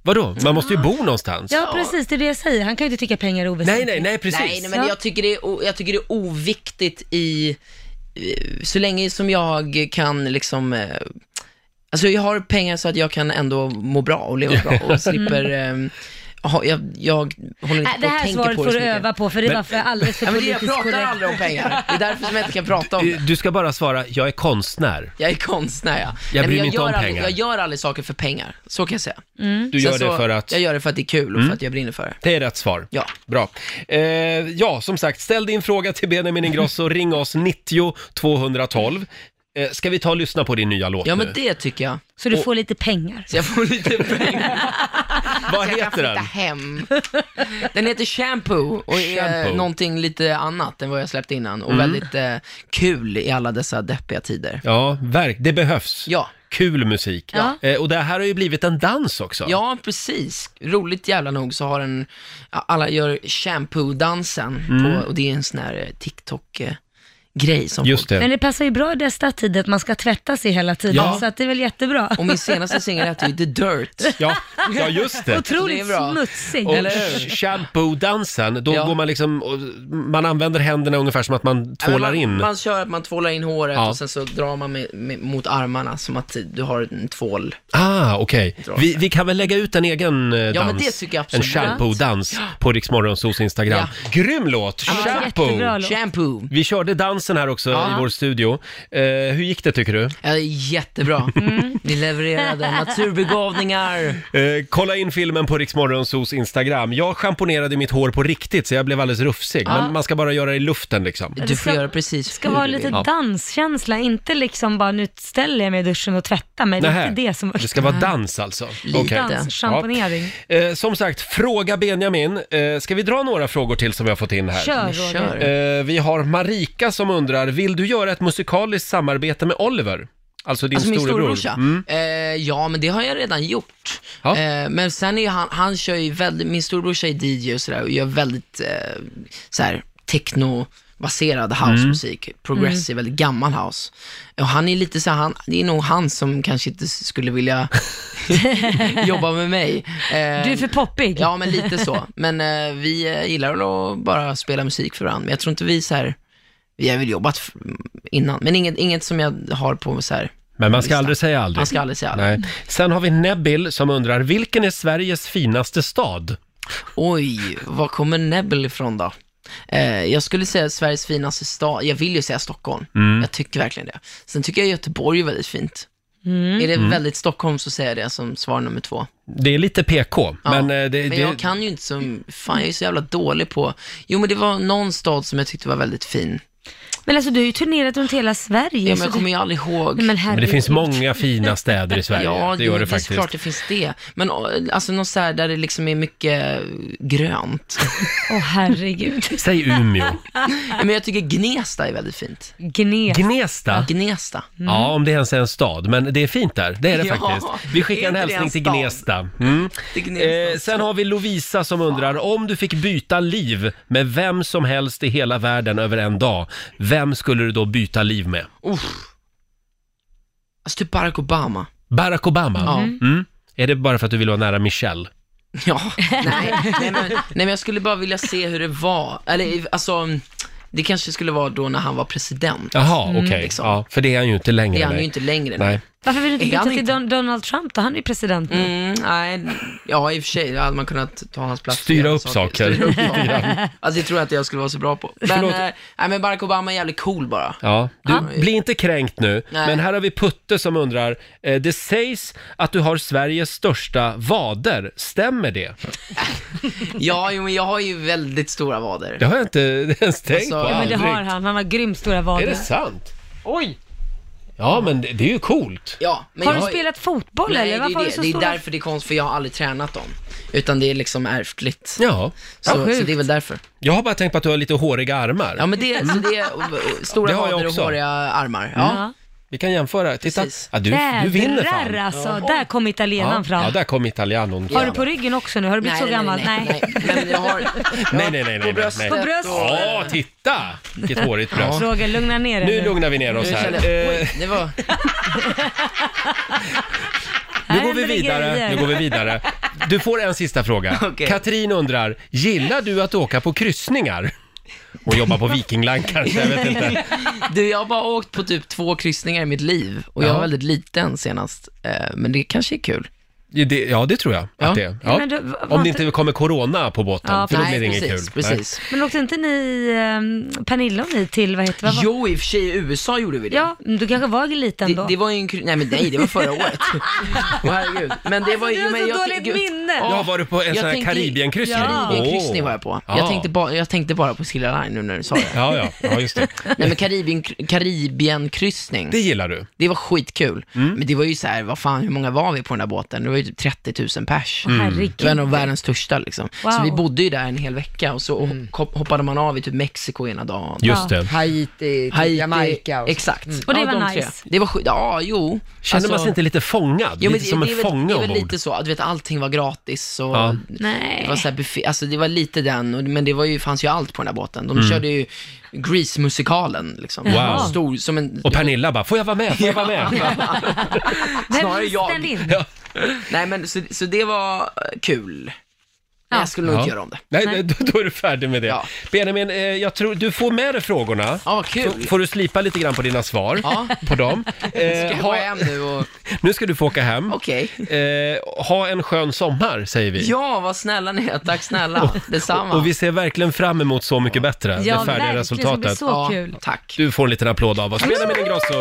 Vadå, man måste ju bo någonstans. Ja, precis, det är det jag säger. Han kan ju inte tycka pengar är Nej, oväsentligt. nej, nej, precis. Nej, nej men jag tycker, det är, o- jag tycker det är oviktigt i, eh, så länge som jag kan liksom, eh, alltså jag har pengar så att jag kan ändå må bra och leva bra och slipper, eh, ha, jag, jag håller inte Äh, det på och här tänker svaret på får så du mycket. öva på, för det var för alldeles för Ja, men det- politiskt Jag pratar korrekt. aldrig om pengar, det är därför som jag inte kan prata om det. Eh, Du ska bara svara, jag är konstnär. Jag är konstnär ja. Jag men bryr mig jag inte gör om aldrig, pengar. Jag gör aldrig saker för pengar, så kan jag säga. Du Mm. Sen gör det så- för att- Jag gör det för att det är kul och Mm. för att jag brinner för det. Det är rätt svar. Ja. Bra. Eh, ja, som sagt, ställ din fråga till Benjamin Ingrosso. Ring oss 90 212. Eh, ska vi ta och lyssna på din nya låt Ja, nu? men det tycker jag. Så du Och- får lite pengar. Så jag får lite pengar. Vad så heter jag kan flytta den? hem. Den heter Shampoo och är Shampoo. någonting lite annat än vad jag släppte innan och Mm. väldigt eh, kul i alla dessa deppiga tider. Ja, verk, det behövs. Ja. Kul musik. Ja. Eh, och det här har ju blivit en dans också. Ja, precis. Roligt jävla nog så har den, ja, alla gör shampoo-dansen Mm. på, och det är en sån här eh, TikTok-grej som Just det. Men det passar ju bra i dessa tider att man ska tvätta sig hela tiden, Ja. så att det är väl jättebra. Och min senaste singel heter ju The Dirt. Ja, ja, just det. Otroligt Det är bra. smutsig. Och Eller hur? sh- shampoo-dansen, då Ja. går man liksom, och man använder händerna ungefär som att man tvålar man, in. Man kör att man tvålar in håret Ja. och sen så drar man med, med, mot armarna som att du har en tvål. Ah, okej. Vi, vi kan väl lägga ut en egen eh, dans? men det tycker jag absolut. En shampoo-dans på Rix Morgonzos Instagram. Grym låt! shampoo! Shampoo. Vi körde dansen här också Ja. i vår studio. Eh, hur gick det tycker du? Ja, det är jättebra. Mm. Ni levererade naturbegåvningar. Eh, kolla in filmen på Rix Morgonzos Instagram. Jag schamponerade mitt hår på riktigt så jag blev alldeles rufsig. Ja. Men man ska bara göra det i luften liksom. Du får göra precis Det ska vara lite danskänsla, inte liksom bara nu ställer jag mig i duschen och tvättar mig. Det är inte det som... det ska vara dans alltså? Okej. Dans, champonering. Eh, som sagt, fråga Benjamin. Eh, ska vi dra några frågor till som vi har fått in här? Kör, Roger. Eh, vi har Marika som undrar, vill du göra ett musikaliskt samarbete med Oliver? Alltså din alltså min storebror. storebrorsa? Mm. Eh, ja, men det har jag redan gjort. Ja. Eh, men sen är ju han, han kör ju väldigt, min storebrorsa är DJ och sådär och gör väldigt eh, såhär techno-baserad Mm. housemusik, progressive, Mm. väldigt gammal house. Och han är lite så här, han, det är nog han som kanske inte skulle vilja jobba med mig. du är för poppig. Ja, men lite så. Men eh, vi eh, gillar väl att bara spela musik för varandra, men jag tror inte vi så här vi har väl jobbat f- innan, men inget, inget som jag har på så här Men man ska aldrig säga aldrig. Man ska aldrig säga aldrig. Nej. Sen har vi Nebbil som undrar, vilken är Sveriges finaste stad? Oj, var kommer Nebel ifrån då? Eh, jag skulle säga Sveriges finaste stad, jag vill ju säga Stockholm. Mm. Jag tycker verkligen det. Sen tycker jag Göteborg är väldigt fint. Mm. Är det Mm. väldigt Stockholm så säger jag det som svar nummer två. Det är lite PK, Ja, men, eh, det, det, men jag kan ju inte som, fan jag är så jävla dålig på, jo men det var någon stad som jag tyckte var väldigt fin. Men alltså du har ju turnerat runt hela Sverige. Ja, men så jag du- kommer ju aldrig ihåg. Nej, men Men det herregud. finns många fina städer i Sverige. Ja, det gör det, är faktiskt. klart det finns det. Men å, alltså något så här där det liksom är mycket grönt. Åh herregud. Säg Umeå. Ja, men jag tycker Gnesta är väldigt fint. Gnesta. Gnesta? Gnesta. Ja, om det ens är en stad. Men det är fint där. Det är det Ja, faktiskt. Vi skickar en är inte det hälsning en till stad? Gnesta. Mm. Eh, sen har vi Lovisa som undrar, om du fick byta liv med vem som helst i hela världen över en dag, vem skulle du då byta liv med? Uff. Alltså typ Barack Obama. Barack Obama? Ja. Mm. Är det bara för att du vill vara nära Michelle? Ja, nej, nej, men, nej men jag skulle bara vilja se hur det var. Eller alltså, det kanske skulle vara då när han var president. Jaha, okej. Liksom. Ja, för det är han ju inte längre. Det är han nej. ju inte längre. Nej. Varför vill du inte Är byta han till Don- Donald Trump då? Han är ju president nu. Mm, nej, ja i och för sig, då hade man kunnat ta hans plats. Styra och göra upp saker. Styra upp Lite saker. grann. alltså det tror jag inte jag skulle vara så bra på. Men, eh, nej, men Barack Obama är jävligt cool bara. Ja, du, bli inte kränkt nu, Nej. men här har vi Putte som undrar, eh, det sägs att du har Sveriges största vader, stämmer det? Ja, jo, men jag har ju väldigt stora vader. Det har jag inte ens tänkt på, Alltså, Ja, men det aldrig. har han. Han har grymt stora vader. Är det sant? Oj! Ja, men det, det är ju coolt. Ja, men har jag du ju- spelat fotboll Nej, eller? det Varför är, har det. du så det är stora... därför det är konstigt, för jag har aldrig tränat dem. Utan det är liksom ärftligt. Ja. Så, så det är väl därför. Jag har bara tänkt på att du har lite håriga armar. Ja, men det, så det Mm. är och- och stora Det har jag vader och också. Mm. håriga armar. Ja. Ja. Vi kan jämföra. Titta, ja, du, du vinner Jädrar fan. alltså. Där kom italienaren ja. fram. ja, där kom italianon Har du fram. på ryggen också nu? Har du blivit Nej, så nej, gammal? nej, Men jag har... Nej, nej, nej. nej, nej, nej. På bröstet. Ja, titta! Vilket hårigt bröst. Roger, lugna ner dig Nu lugnar vi ner oss Nu här. känner jag- Eh, Oj, det var... Nu går vi händer det vidare. grejer. Nu går vi vidare. Du får en sista fråga. Okej. Katrin undrar, gillar du att åka på kryssningar? Hon jobbar på Viking Line kanske, jag vet inte. Du, jag har bara åkt på typ två kryssningar i mitt liv och jag Ja. var väldigt liten senast. Eh, Men det kanske är kul. Ja, det, ja, det tror jag att det är. Ja, ja. men du- va- Om det va- inte kommer corona på båten, Ja, för då precis. blir det inget Precis, kul. Nej. precis. Men åkte inte ni, eh, Pernilla och ni till, vad heter vad var- Jo, i och för sig i USA gjorde vi det. Ja, du kanske var liten Det, då. det var ju en kry- Nej men nej, det var förra året. Åh herregud. Men det var ju... Alltså, du har men så jag ty- dåligt gud. minne. Ja, Ja, var du på en jag sån här tänkte- Karibienkryssning? Ja, Karibienkryssning var jag på. Ja. Jag, tänkte bara, jag tänkte bara på Silja Line nu när du sa det. Ja, ja, ja, just det. Nej men Karibien, Karibienkryssning, Det det... gillar du. var skitkul. Mm. Men det var ju så här, vad fan, hur många var vi på den där båten? Det var ju typ 30 000 pers. Mm. Åh, Det var en av Herregud. världens största liksom. Så Wow. Mm. vi bodde ju där en hel vecka och så hop- hoppade man av i typ Mexiko ena dagen. Just det. Haiti, Haiti Jamaica och så. Exakt. Och det Ja, var de nice. tre. Det var skit, ja jo. Alltså- Känner man sig inte lite fångad? Jo, men lite som en det är väl- fånge Det är väl ombord? lite så, att du vet allting var gratis och Ja. Nej. det var så här buffé, alltså det var lite den, och- men det var ju, fanns ju allt på den här båten. De körde ju Grease-musikalen liksom. Mm. Wow. Stor, som en... Och Pernilla bara, får jag vara med? Får jag vara med? Snarare Vem jag. ställde in? Ja. Nej men så, så det var eh, kul. Men jag skulle nog inte göra om det. Nej, nej. Då, då är du färdig med det. Ja. Benjamin, eh, jag tror du får med dig frågorna. Ja, vad kul. Så får du slipa lite grann på dina svar. Ja. På dem. Ska jag Eh, gå ha, hem nu och... nu ska du få åka hem. Okej. Eh, ha en skön sommar, säger vi. Ja, vad snälla ni är. Tack snälla. Detsamma. Och vi ser verkligen fram emot Så mycket bättre, Ja, det färdiga verkligen. Det blir resultatet. så kul. Tack. Du får en liten applåd av oss. Benjamin Ingrosso.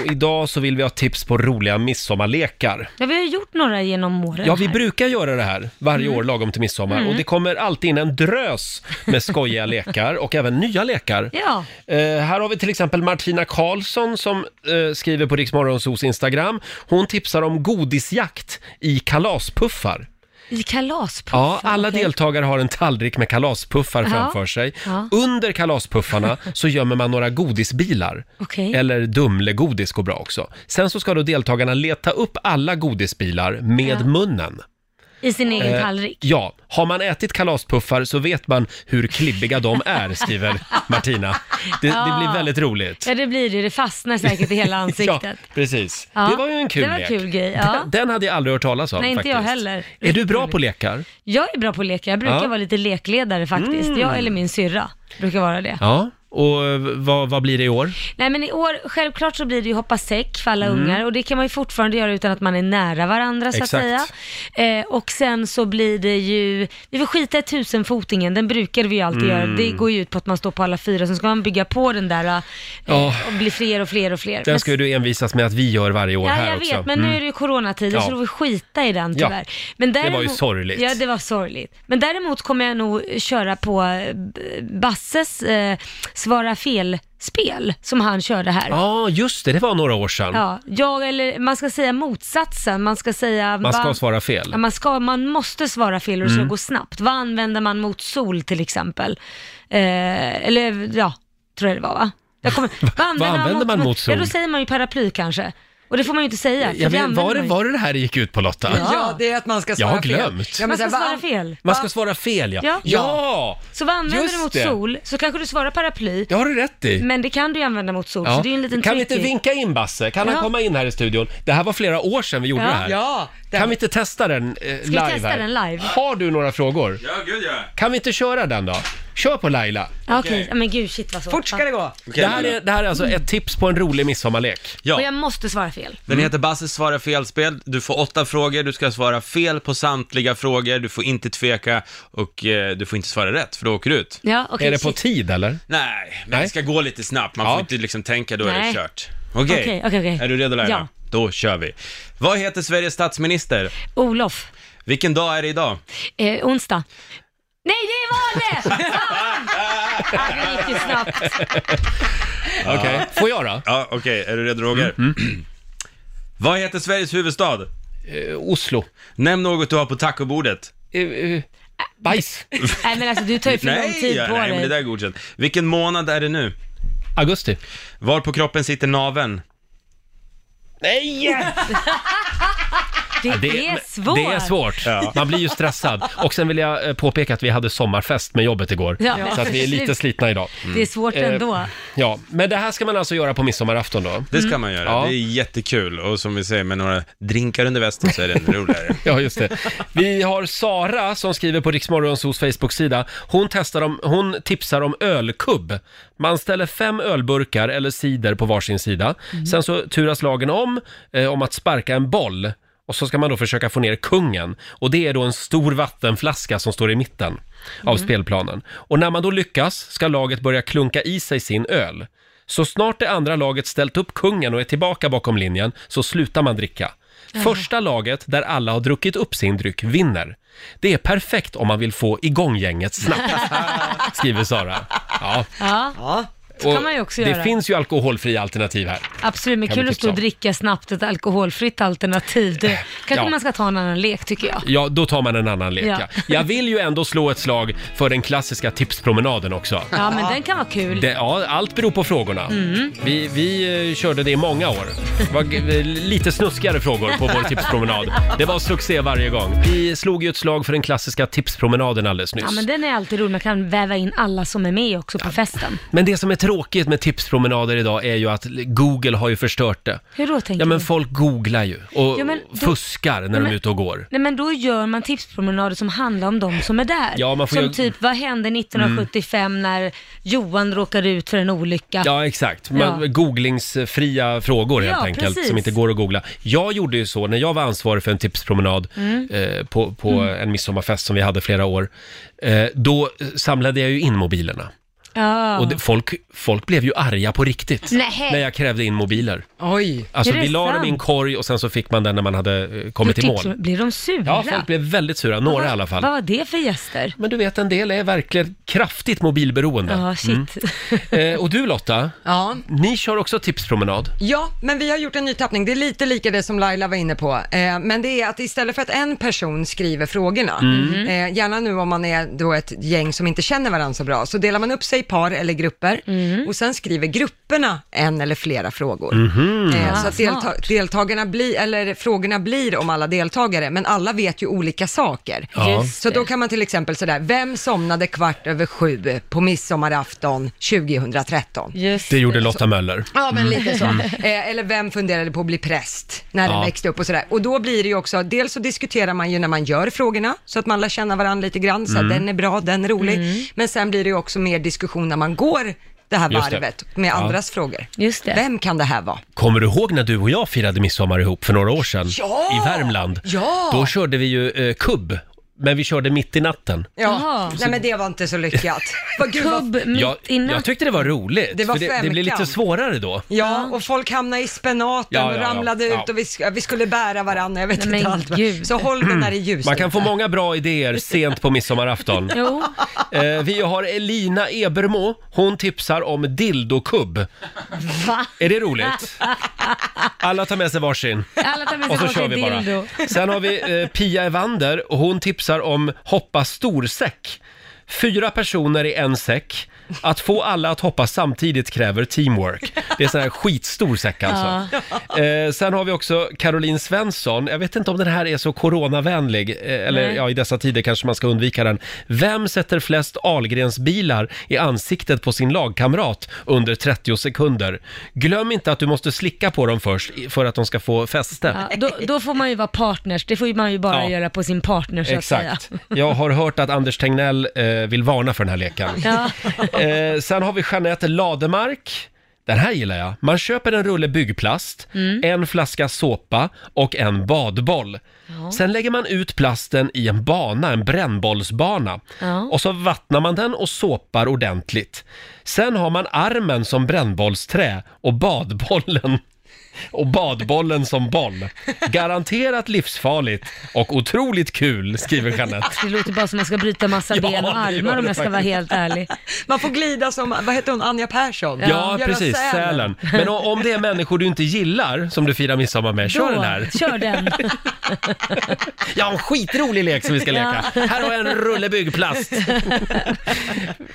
Och idag så vill vi ha tips på roliga midsommarlekar. Ja, vi har gjort några genom åren Ja, vi här. Mm. brukar göra det här varje år lagom till midsommar och det kommer alltid in en drös med skojiga lekar och även nya lekar. Ja, Eh, här har vi till exempel Martina Karlsson som eh, skriver på Riksmorgonsos Instagram. Hon tipsar om godisjakt i kalaspuffar. i kalaspuffar. Ja, alla okej. deltagare har en tallrik med kalaspuffar Ja. framför sig. Ja. Under kalaspuffarna så gömmer man några godisbilar. Okej. Eller Dumlegodis går bra också. Sen så ska då deltagarna leta upp alla godisbilar med Ja. munnen. I sin egen Eh, tallrik. Ja, har man ätit kalaspuffar så vet man hur klibbiga de är, skriver Martina. Det, det Ja. blir väldigt roligt. Ja, det blir det. Det fastnar säkert i hela Ja, ansiktet. precis. Ja, det var ju en kul det var en lek. kul grej, ja. Den, den hade jag aldrig hört talas om Nej, inte faktiskt. jag heller. Är du bra på lekar? Jag är bra på att leka. Jag brukar Ja. Mm. vara lite lekledare faktiskt. Jag eller min syrra brukar vara det. Ja. Och eh, vad, vad blir det i år? Nej men i år, självklart så blir det ju hoppa säck för Mm. alla ungar och det kan man ju fortfarande göra utan att man är nära varandra så Exakt. att säga. Eh, och sen så blir det ju, vi får skita i tusenfotingen, den brukar vi ju alltid göra. Mm. Det går ju ut på att man står på alla fyra, sen ska man bygga på den där eh, Ja. och bli fler och fler och fler. Den Men- ska ju du envisas med att vi gör varje år Ja, här jag också. Mm. vet, men nu är det ju coronatider så Ja. då får vi skita i den Ja. tyvärr. Men Det var ju däremot- sorgligt. Ja, det var sorgligt. Men däremot kommer jag nog köra på eh, Basses eh, svara fel-spel som han körde här. Ja, just det. Det var några år sedan. Ja, jag eller, man ska säga motsatsen, man ska säga... Man ska vad- svara fel. Ja, man, ska, man måste svara fel och det ska Mm. gå snabbt. Vad använder man mot sol till exempel? Eh, eller ja, tror jag det var va? Jag kommer, vad använder man mot sol? Ja, då säger man ju paraply kanske. Och det får man ju inte säga. för Jag det vet, använder var, det, man ju. var det det här det gick ut på Lotta? Ja. Ja, det är att man ska Jag svara har fel. glömt. Ja, men man ska sen, vad- svara fel. Man ska svara fel, ja. Ja. ja. Så vad använder Just du mot det. sol så kanske du svarar paraply. Det har du rätt i. Men det kan du ju använda mot sol, Ja. så det är ju en liten kan vi tricky. inte vinka in Basse? Kan Ja. han komma in här i studion? Det här var flera år sedan vi gjorde Ja. det här. Ja, det- Kan vi inte testa den eh, vi live? testa här? den live? Har du några frågor? Ja, gud ja. Kan vi inte köra den då? Kör på Laila. Ja, Okej, ja, men gud shit vad svårt. Fort ska det gå. Det, här är, det här är alltså ett tips på en rolig midsommarlek. Och jag måste svara fel. Den heter Basse svarar felspel. Du får åtta frågor, du ska svara fel på samtliga frågor, du får inte tveka och eh, du får inte svara rätt för då åker du ut. Ja, okej, Är det på shit. tid eller? Nej, men det ska gå lite snabbt. Man får inte liksom tänka, då är Nej. det kört. Okej, Okej, okej, okej. är du redo Laila? Ja. Då kör vi. Vad heter Sveriges statsminister? Olof, Vilken dag är det idag? eh, onsdag. Nej, det var det! Fan! ah, det gick ju snabbt. Okej, får jag då? Ja, okej. Är du redo Roger? Vad heter Sveriges huvudstad? Eh, Oslo. Eh, Nämn något du har på tacobordet. Äh, Bajs. Nej men alltså du tar ju för lång tid ja, på nej, men det dig. där är godkänt. Vilken månad är det nu? Augusti. Var på kroppen sitter naveln? Nej! det, Ja, är svårt. Det är svårt. Man blir ju stressad. Och sen vill jag eh, påpeka att vi hade sommarfest med jobbet igår. Ja, så att vi är lite precis. slitna idag. Det är svårt Eh, ändå. Ja, men det här ska man alltså göra på midsommarafton då? Det Mm. ska man göra. Ja. Det är jättekul. Och som vi säger, med några drinkar under västen så är det ännu roligare. Ja, just det. Vi har Sara som skriver på Riksmorgonsos Facebook-sida. Hon, testar om, hon tipsar om ölkubb. Man ställer fem ölburkar eller cider på varsin sida. Mm. Sen så turas lagen om, eh, om att sparka en boll. Och så ska man då försöka få ner kungen. Och det är då en stor vattenflaska som står i mitten av Mm. spelplanen. Och när man då lyckas ska laget börja klunka i sig sin öl. Så snart det andra laget ställt upp kungen och är tillbaka bakom linjen så slutar man dricka. Första laget där alla har druckit upp sin dryck vinner. Det är perfekt om man vill få igång gänget snabbt, skriver Sara. Ja. Ja. Så Och kan man ju också det göra. finns ju alkoholfria alternativ här. Absolut, men kan vi typ kul att tipsa stå och om. dricka snabbt, ett alkoholfritt alternativ. Det, kanske Ja. man ska ta en annan lek tycker jag. Ja, då tar man en annan lek. Ja. Ja. Jag vill ju ändå slå ett slag för den klassiska tipspromenaden också. Ja, men den kan vara kul. Det, ja, allt beror på frågorna. Mm. Vi, vi eh, körde det i många år. Det var g- eh, lite snuskigare frågor på vår tipspromenad. Det var succé varje gång. Vi slog ju ett slag för den klassiska tipspromenaden alldeles nyss. Ja, men men, den är alltid rolig. Man kan väva in alla som är med också på festen. det som är tråkigt med tipspromenader idag är ju att Google har ju förstört det. Hur då tänker Ja, men du? folk googlar ju och Ja, men då- fuskar när Ja, de men- är ute och går. Nej men då gör man tipspromenader som handlar om de som är där. Ja, man får som göra- Mm. typ, vad hände 1975 när Johan råkade ut för en olycka? Ja, exakt. Man, Ja. Googlingsfria frågor helt Ja, enkelt, precis. som inte går att googla. Jag gjorde ju så när jag var ansvarig för en tipspromenad Mm. eh, på, på Mm. en midsommarfest som vi hade flera år. Eh, då samlade jag ju in mobilerna. Ja. Och det, folk, folk blev ju arga på riktigt Nähä. när jag krävde in mobiler. Oj! Alltså Är det vi la dem i en sant? korg och sen så fick man den när man hade eh, kommit i Gjort mål. tips- Blir de sura? Ja, folk blev väldigt sura. Några i alla fall. Vad var det för gäster? Men du vet, en del är verkligen kraftigt mobilberoende. Ja, shit. Mm. Eh, och du Lotta, Ja. ni kör också tipspromenad. Ja, men vi har gjort en ny tappning. Det är lite lika det som Laila var inne på. Eh, men det är att istället för att en person skriver frågorna, Mm. eh, gärna nu om man är då ett gäng som inte känner varandra så bra, så delar man upp sig i par eller grupper Mm. och sen skriver grupperna en eller flera frågor. Mhm. Eh, så Ah, att delta- smart. deltagarna blir, eller frågorna blir om alla deltagare, men alla vet ju olika saker. Ja. Just Så då kan man till exempel sådär, vem somnade kvart över sju på midsommarafton 2013? Det gjorde Lotta Möller. Ja, men Mm. lite så. Mm. Eh, eller vem funderade på att bli präst när den Ja. växte upp och sådär. Och då blir det ju också, dels så diskuterar man ju när man gör frågorna, så att man lär känna varandra lite grann, så att Mm. den är bra, den är rolig. Mm. Men sen blir det ju också mer diskussion när man går det här Just det. varvet med Ja. andras frågor. Just det. Vem kan det här vara? Kommer du ihåg när du och jag firade midsommar ihop för några år sedan? Ja! I Värmland. Ja! Då körde vi ju eh, kubb men vi körde mitt i natten. Ja, nej men det var inte så lyckat. Vad gud, vad... Jag, jag tyckte det var roligt, Det var för det, det blev femkamp. lite svårare då. Ja, och folk hamnade i spenaten Ja, ja, och ja. ramlade Ja. ut och vi, sk- vi skulle bära varandra, jag vet Nej, inte men allt. Så håll den där i ljuset. Man kan få många bra idéer sent på midsommarafton. Jo. Eh, vi har Elina Ebermo, hon tipsar om dildokubb. Va? Är det roligt? Alla tar med sig varsin. Alla tar med sig Och så varsin kör vi bara. dildo. Sen har vi eh, Pia Evander och hon tipsar om hoppa storsäck. Fyra personer i en säck. Att få alla att hoppa samtidigt kräver teamwork. Det är sån här skitstor säck alltså. Eh, sen har vi också Caroline Svensson. Jag vet inte om den här är så coronavänlig, eh, eller Nej. ja, i dessa tider kanske man ska undvika den. Vem sätter flest Ahlgrens bilar i ansiktet på sin lagkamrat under 30 sekunder? Glöm inte att du måste slicka på dem först i- för att de ska få fäste. Ja, då, då får man ju vara partners, det får ju man ju bara Ja. göra på sin partner så att Exakt. säga. Jag har hört att Anders Tegnell eh, vill varna för den här leken. Ja. Eh, sen har vi Jeanette Lademark. Den här gillar jag. Man köper en rulle byggplast, Mm. en flaska såpa och en badboll. Ja. Sen lägger man ut plasten i en bana, en brännbollsbana. Ja. Och så vattnar man den och såpar ordentligt. Sen har man armen som brännbollsträ och badbollen och badbollen som boll. Garanterat livsfarligt och otroligt kul, skriver Jeanette. Det låter bara som att man ska bryta massa Ja, ben och det gör armar om det jag ska vara faktiskt. helt ärlig. Man får glida som, vad heter hon, Anja Persson? Ja, Göra precis. Sälen. Men o- om det är människor du inte gillar som du firar midsommar med, kör Då, den här. Kör den. Jag har en skitrolig lek som vi ska leka. Ja. Här har jag en rulle byggplast.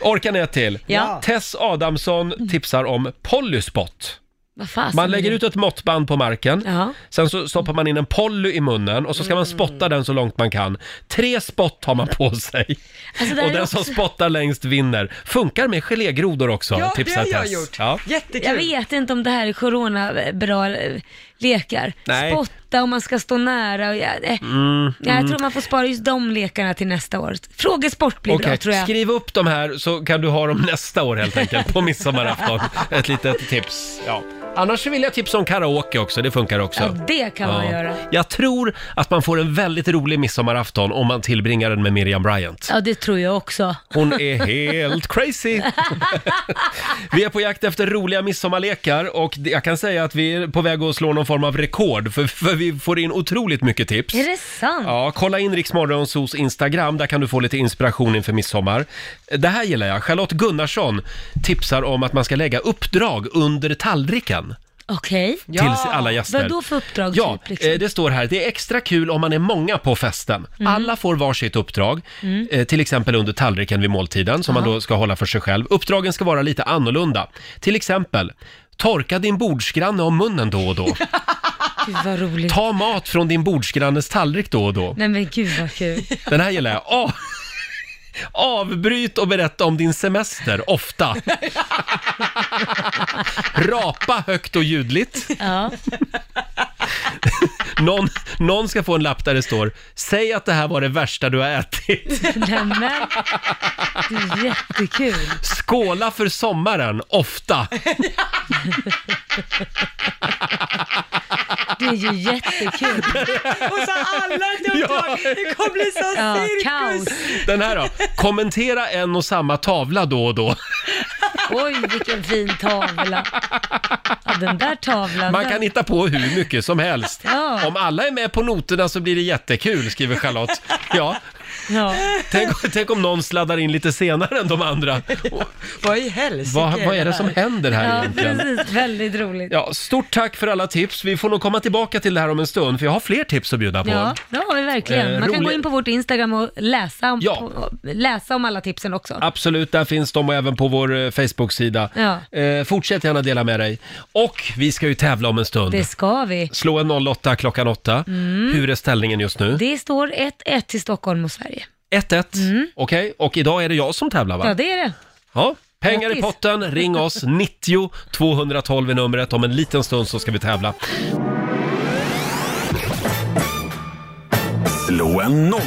Orkar ni ett till? Ja. Tess Adamsson tipsar om Pollyspot. Vad fasen Man lägger är ut ett måttband på marken, sen så stoppar man in en Polly i munnen och så ska man Mm. spotta den så långt man kan. Tre spott har man på sig. Alltså, det här och är den också- som spottar längst vinner. Funkar med gelégrodor också, Ja, det tipsar har jag Tess. gjort. Ja. Jättekul. Jag vet inte om det här är corona-bra eh, lekar. Nej. Spotta om man ska stå nära och... ja, eh. Mm, Ja, jag mm. tror man får spara just de lekarna till nästa år. Frågesport blir bra Okej, tror jag. Skriv upp de här så kan du ha dem nästa år helt enkelt, på midsommarafton. Ett litet tips. Ja. Annars vill jag tipsa om karaoke också, det funkar också. Ja, det kan man göra. Jag tror att man får en väldigt rolig midsommarafton om man tillbringar den med Miriam Bryant. Ja, det tror jag också. Hon är helt crazy! Vi är på jakt efter roliga midsommarlekar och det- jag kan säga att vi är på väg att slå någon form av rekord för, för vi får in otroligt mycket tips. Är det sant? Ja, kolla in Riksmorgonsos Instagram, där kan du få lite inspiration inför midsommar. Det här gillar jag. Charlotte Gunnarsson tipsar om att man ska lägga uppdrag under tallriken. Okej. Till alla gäster. Vad då för uppdrag? Ja, typ, liksom? eh, det står här, det är extra kul om man är många på festen. Mm. Alla får varsitt uppdrag, Mm. eh, till exempel under tallriken vid måltiden, som man Ja. då ska hålla för sig själv. Uppdragen ska vara lite annorlunda. Till exempel, torka din bordsgranne om munnen då och då. Gud vad roligt. Ta mat från din bordsgrannes tallrik då och då. Nej men gud vad kul. Den här gillar jag. Av- Avbryt och berätta om din semester, ofta. Rapa högt och ljudligt. Ja. Någon, någon ska få en lapp där det står “Säg att det här var det värsta du har ätit”. Nämen, det är jättekul. Skåla för sommaren, ofta. Det är ju jättekul. Och så alla Ja. Det kommer bli så Ja, cirkus! kaos. Den här då. Kommentera en och samma tavla då och då. Oj, vilken fin tavla. Ja, den där tavlan. Man den- kan hitta på hur mycket som helst. Ja. Om alla är med på noterna så blir det jättekul, skriver Charlotte. Ja. Ja. Tänk, tänk om någon sladdar in lite senare än de andra. Vad i helsike Vad, vad är det här? som händer här Ja, egentligen? precis. Väldigt roligt. Ja, stort tack för alla tips. Vi får nog komma tillbaka till det här om en stund, för jag har fler tips att bjuda på. Ja, det har vi Eh, verkligen. Man kan rolig- gå in på vårt Instagram och läsa om, Ja. på, läsa om alla tipsen också. Absolut, där finns de och även på vår eh, Facebook-sida. Ja. Eh, fortsätt gärna dela med dig. Och vi ska ju tävla om en stund. Det ska vi. Slå en 08 klockan 8. Mm. Hur är ställningen just nu? Det står 1-1 till Stockholm och Sverige. 1-1. Okej, och idag är det jag som tävlar va? Ja, det är det. Ja, pengar i Grattis. potten. Ring oss, 90 212 är numret. Om en liten stund så ska vi tävla. Slå en 08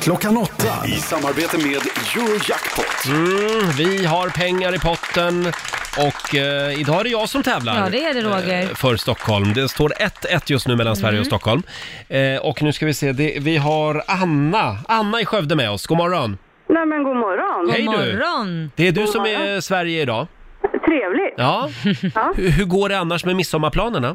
klockan 8. I samarbete med Eurojackpot. Mm, vi har pengar i potten. Och eh, idag är det jag som tävlar. Ja, det är det, Roger. eh, För Stockholm. Det står 1-1 just nu mellan Sverige och Mm. Stockholm. Eh, och nu ska vi se, det, vi har Anna. Anna i Skövde med oss. God morgon. Nej men god morgon. Hej du. Det är du God som morgon. är Sverige idag. Trevligt. Ja. Hur, hur går det annars med midsommarplanerna?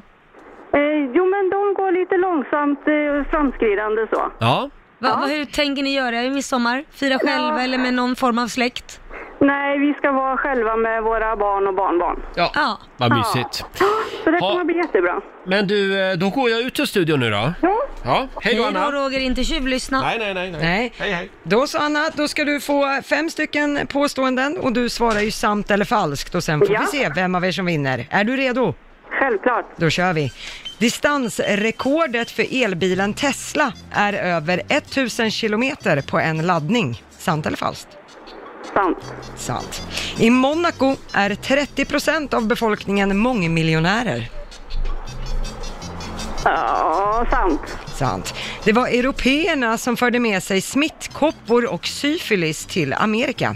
Eh, jo men de går lite långsamt eh, framskridande så. Ja. Va, vad- hur tänker ni göra i midsommar? Fira själva eller med någon form av släkt? Nej, vi ska vara själva med våra barn och barnbarn. Ja. Vad mysigt. Så det kommer bli jättebra. Men du, eh, då går jag ut ur studion nu då. Ja. Ja. Hej då Anna. Roger, inte tjuvlyssna. Nej, nej, nej. Nej. Hej, hej. Då så Anna, då ska du få fem stycken påståenden och du svarar ju sant eller falskt och sen får Ja. vi se vem av er som vinner. Är du redo? Självklart. Då kör vi. Distansrekordet för elbilen Tesla är över 1000 kilometer på en laddning. Sant eller falskt? Sant. Sant. I Monaco är 30% av befolkningen mångmiljonärer. Ja, sant. Sant. Det var européerna som förde med sig smittkoppor och syfilis till Amerika.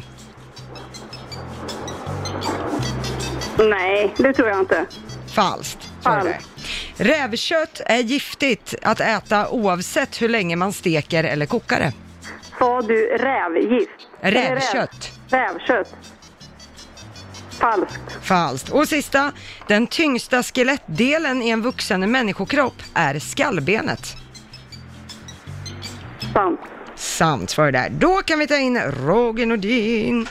Nej, det tror jag inte. Falskt. Falskt. Rävkött är giftigt att äta oavsett hur länge man steker eller kokar det. Sa du rävgift? Rävkött. Räv- Rävkött. Falskt. Falskt. Och sista, den tyngsta skelettdelen i en vuxen människokropp är skallbenet. Sant. Sant svar där. Då kan vi ta in Roger Nordin.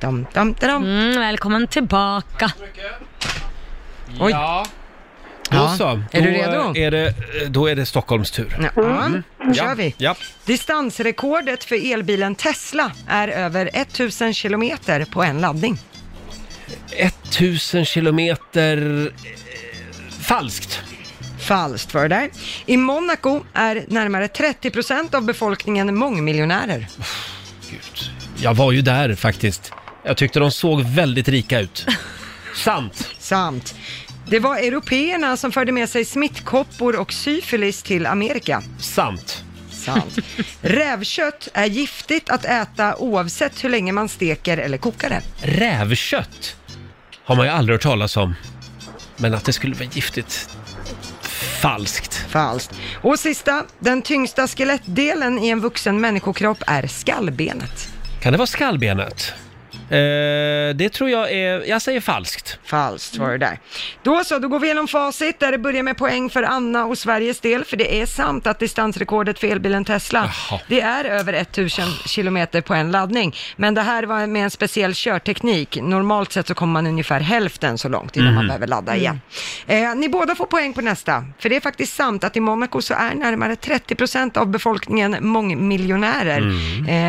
Dam, dam, dam. Mm, välkommen tillbaka. Oj. Ja. Då Ja. så. Är Då eh, du redo? Är det, då är det Stockholms tur. Ja, då kör vi. Ja. Distansrekordet för elbilen Tesla är över 1000 kilometer på en laddning. 1000 kilometer... eh, Falskt. Falskt var det där. I Monaco är närmare 30% av befolkningen mångmiljonärer. Jag var ju där faktiskt. Jag tyckte de såg väldigt rika ut. Sant. Sant. Det var européerna som förde med sig smittkoppor och syfilis till Amerika. Sant. Sant. Rävkött är giftigt att äta oavsett hur länge man steker eller kokar det. Rävkött har man ju aldrig hört talas om. Men att det skulle vara giftigt. Falskt. Falskt. Och sista, den tyngsta skelettdelen i en vuxen människokropp är skallbenet. Kan det vara skallbenet? Eh, det tror jag är... Jag säger falskt. Falskt var det där. Då så, då går vi igenom facit där det börjar med poäng för Anna och Sveriges del, för det är sant att distansrekordet för elbilen Tesla, Jaha. det är över 1000 kilometer på en laddning. Men det här var med en speciell körteknik. Normalt sett så kommer man ungefär hälften så långt innan man Mhm. behöver ladda igen. Eh, ni båda får poäng på nästa, för det är faktiskt sant att i Monaco så är närmare 30% av befolkningen mångmiljonärer.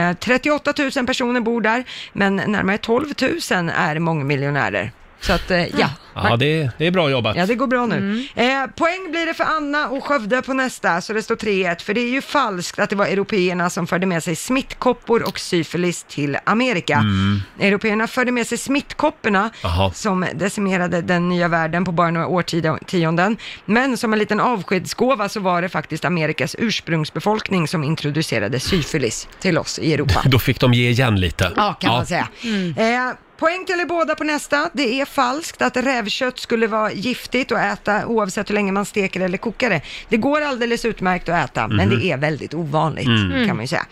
Eh, 38 000 personer bor där, men närmare 12 000 är mångmiljonärer. Så att, eh, ja. Ja, det, det är bra jobbat. Ja, det går bra nu. Mm. Eh, poäng blir det för Anna och Skövde på nästa, så det står 3-1. För det är ju falskt att det var européerna som förde med sig smittkoppor och syfilis till Amerika. Mm. Européerna förde med sig smittkopporna Jaha. som decimerade den nya världen på bara några årtionden. Men som en liten avskedsgåva så var det faktiskt Amerikas ursprungsbefolkning som introducerade syfilis till oss i Europa. Då fick de ge igen lite. Ja, kan man säga. Mm. Eh, poäng till er båda på nästa. Det är falskt att rävkött skulle vara giftigt att äta oavsett hur länge man steker eller kokar det. Det går alldeles utmärkt att äta, men Mhm. det är väldigt ovanligt Mm. kan man ju säga.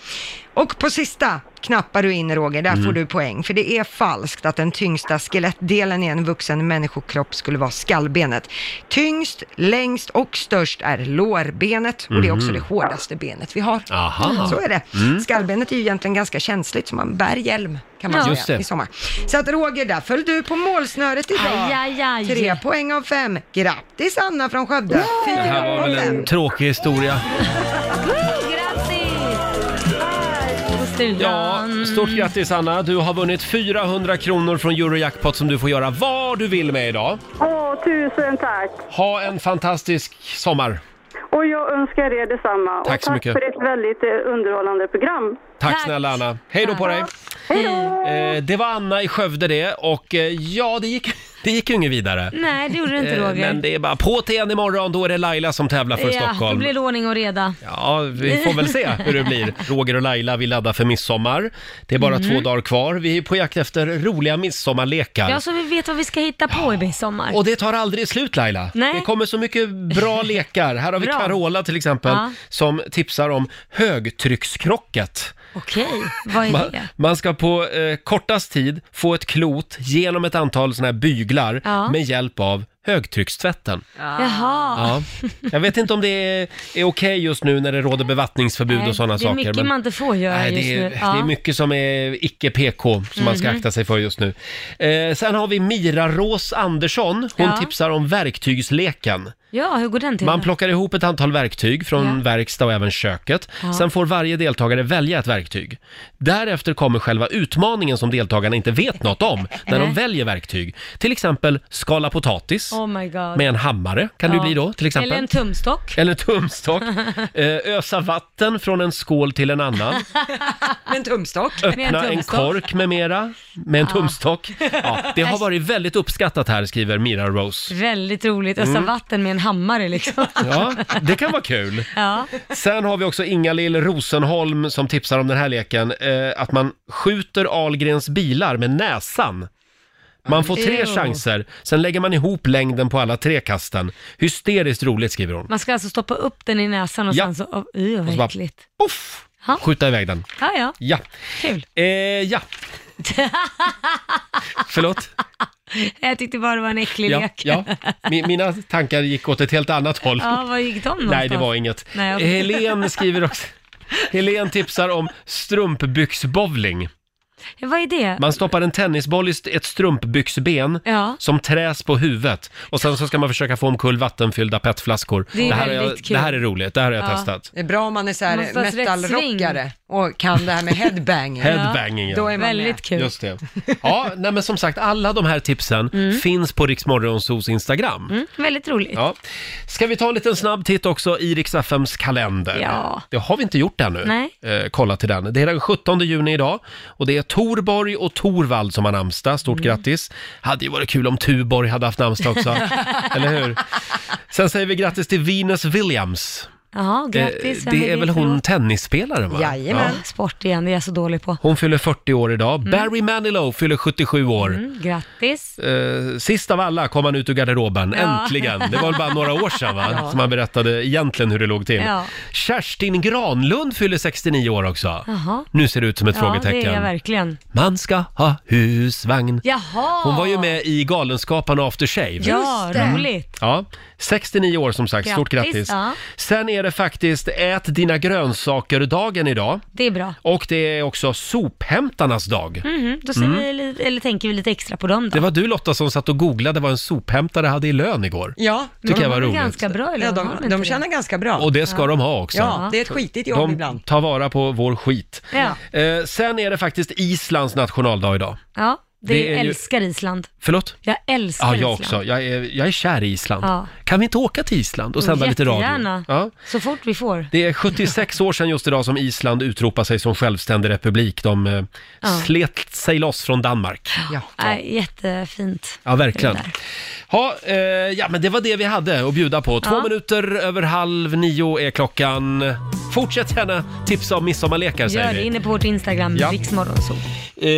Och på sista knappar du in Roger, där Mm. får du poäng. För det är falskt att den tyngsta skelettdelen i en vuxen människokropp skulle vara skallbenet. Tyngst, längst och störst är lårbenet och det är också Mhm. det hårdaste benet vi har. Aha. Så är det. Mm. Skallbenet är ju egentligen ganska känsligt, så man bär hjälm kan man Ja. säga Just det. i sommar. Så att Roger, där föll du på målsnöret idag. Aj, aj, aj. Tre poäng av fem. Grattis Anna från Skövde. Det Fyra här var av väl fem. en tråkig historia. Ja, stort grattis Anna. Du har vunnit 400 kronor från Eurojackpot som du får göra vad du vill med idag. Åh, tusen tack. Ha en fantastisk sommar. Och jag önskar er detsamma. Tack och så mycket. för ett väldigt eh, underhållande program. Tack, Tack. snälla Anna. Hej då på dig. Eh, det var Anna i Skövde det och eh, ja, det gick, det gick ju inget vidare. Nej, det gjorde det inte Eh, Roger. Men det är bara på till en imorgon, då är det Laila som tävlar för ja, Stockholm. då blir det ordning och reda. Ja, vi får väl se hur det blir. Roger och Laila, vi laddar för midsommar. Det är bara Mm. två dagar kvar. Vi är på jakt efter roliga midsommarlekar. Ja, så vi vet vad vi ska hitta på i midsommar. Och det tar aldrig slut Laila. Nej. Det kommer så mycket bra lekar. Här har vi Bra. Carola till exempel Ja. som tipsar om högtryckskrocket. Okej, vad är Man, det? man ska på eh, kortast tid få ett klot genom ett antal sådana här byglar Ja. med hjälp av högtryckstvätten. Ja. Jaha. Jag vet inte om det är, är okej just nu när det råder bevattningsförbud Nej, och sådana det är saker. mycket men- man inte får göra Nej, just det, är, nu. Ja. det är mycket som är icke PK som man ska Mhm. akta sig för just nu. Eh, sen har vi Mira Rås Andersson. Hon Ja. tipsar om verktygsleken. Ja, hur går den till Man då? plockar ihop ett antal verktyg från Ja. verkstad och även köket. Ja. Sen får varje deltagare välja ett verktyg. Därefter kommer själva utmaningen som deltagarna inte vet något om när de Nej. väljer verktyg. Till exempel skala potatis Oh my god. med en hammare kan Ja. det bli då till exempel. Eller en tumstock. Eller en tumstock. Eh, ösa vatten från en skål till en annan. Med en tumstock. Öppna en, kork med mera. Med en Ja. tumstock. Ja, det har varit väldigt uppskattat här, skriver Mira Rose. Väldigt roligt. Ösa Mm. vatten med en hammare liksom. Ja, det kan vara kul. Ja. Sen har vi också Inga-Lill Rosenholm som tipsar om den här leken. Eh, att man skjuter Ahlgrens bilar med näsan. Man får tre Ew. chanser, sen lägger man ihop längden på alla tre kasten. Hysteriskt roligt skriver hon. Man ska alltså stoppa upp den i näsan och Ja. sen så, oh, Och oh, så vad bara- äckligt. Uff. Ja, Skjuta iväg den. ja. ja. Ja. Kul. Eh, ja. Förlåt? Jag tyckte bara det var en äcklig Ja, lek. ja. Mi- mina tankar gick åt ett helt annat håll. Ja, vad gick de någonstans? Nej, det var inget. Nej, okej. Helen skriver också... Helen tipsar om strumpbyxbowling. Vad är det? Man stoppar en tennisboll i st- ett strumpbyxben Ja. som träs på huvudet och sen så ska man försöka få omkull vattenfyllda petflaskor. Det är här har jag, väldigt kul. det här är roligt, det här har jag testat. Det är bra om man är så här Man måste ha ett rätt sving. metalrockare och kan det här med headbanging. Headbanging, ja. Då är man Väldigt med. kul. Just det. Ja, nej men som sagt, alla de här tipsen finns på Riksmorgonsos Instagram. Mm, väldigt roligt. Ja. Ska vi ta en liten snabb titt också i Rix FMs kalender? Ja. Det har vi inte gjort ännu. Nej. Eh, kolla till den. Det är den 17 juni idag och det är Torborg och Torvald som har namnsdag. Mm. Stort grattis. Hade ju varit kul om Tuborg hade haft namnsdag också. Eller hur? Sen säger vi grattis till Venus Williams. Jaha, grattis. Eh, Vem det är väl för hon då? tennisspelaren va? Jajamän. Ja. Sport igen, det är jag så dålig på. Hon fyller 40 år idag. Mm. Barry Manilow fyller 77 år. Mm, grattis. Eh, sist av alla kom han ut ur garderoben, Ja. äntligen. Det var väl bara några år sedan va? Ja. som han berättade egentligen hur det låg till. Ja. Kerstin Granlund fyller 69 år också. Jaha. Nu ser det ut som ett ja, frågetecken. det är jag verkligen. Man ska ha husvagn. Jaha! Hon var ju med i Galenskaparna After Shave. Ja, Mm. roligt. Ja, 69 år som sagt, stort Grattis, grattis. ja. Sen är det faktiskt Ät dina grönsaker-dagen idag. Det är bra. Och det är också sophämtarnas dag. Mhm, då ser Mm. vi lite, eller tänker vi lite extra på dem då. Det var du Lotta som satt och googlade vad en sophämtare hade i lön igår. Ja, Tycker jag var de är roligt. ganska bra eller Ja, har de, inte de det? tjänar ganska bra. Och det ska de ha också. Ja, det är ett skitigt jobb de ibland. tar vara på vår skit. Ja. Eh, sen är det faktiskt Islands nationaldag idag. Ja, det, Det är ju- älskar Island. Förlåt? Jag älskar Ja, jag Island. också. Jag är, jag är kär i Island. Ja. Kan vi inte åka till Island och sända lite radio? Jättegärna. Ja. Så fort vi får. Det är 76 år sedan just idag som Island utropar sig som självständig republik. De eh, Ja. slet sig loss från Danmark. Ja. Nej, jättefint. Ja, verkligen. Det där. Ha, eh, ja, men det var det vi hade att bjuda på. Två Ja. minuter över halv nio är klockan. Fortsätt gärna tipsa om midsommarlekar, Gör säger det vi. inne på vårt Instagram, Ja. ja. Riksmorgonzoo. Eh,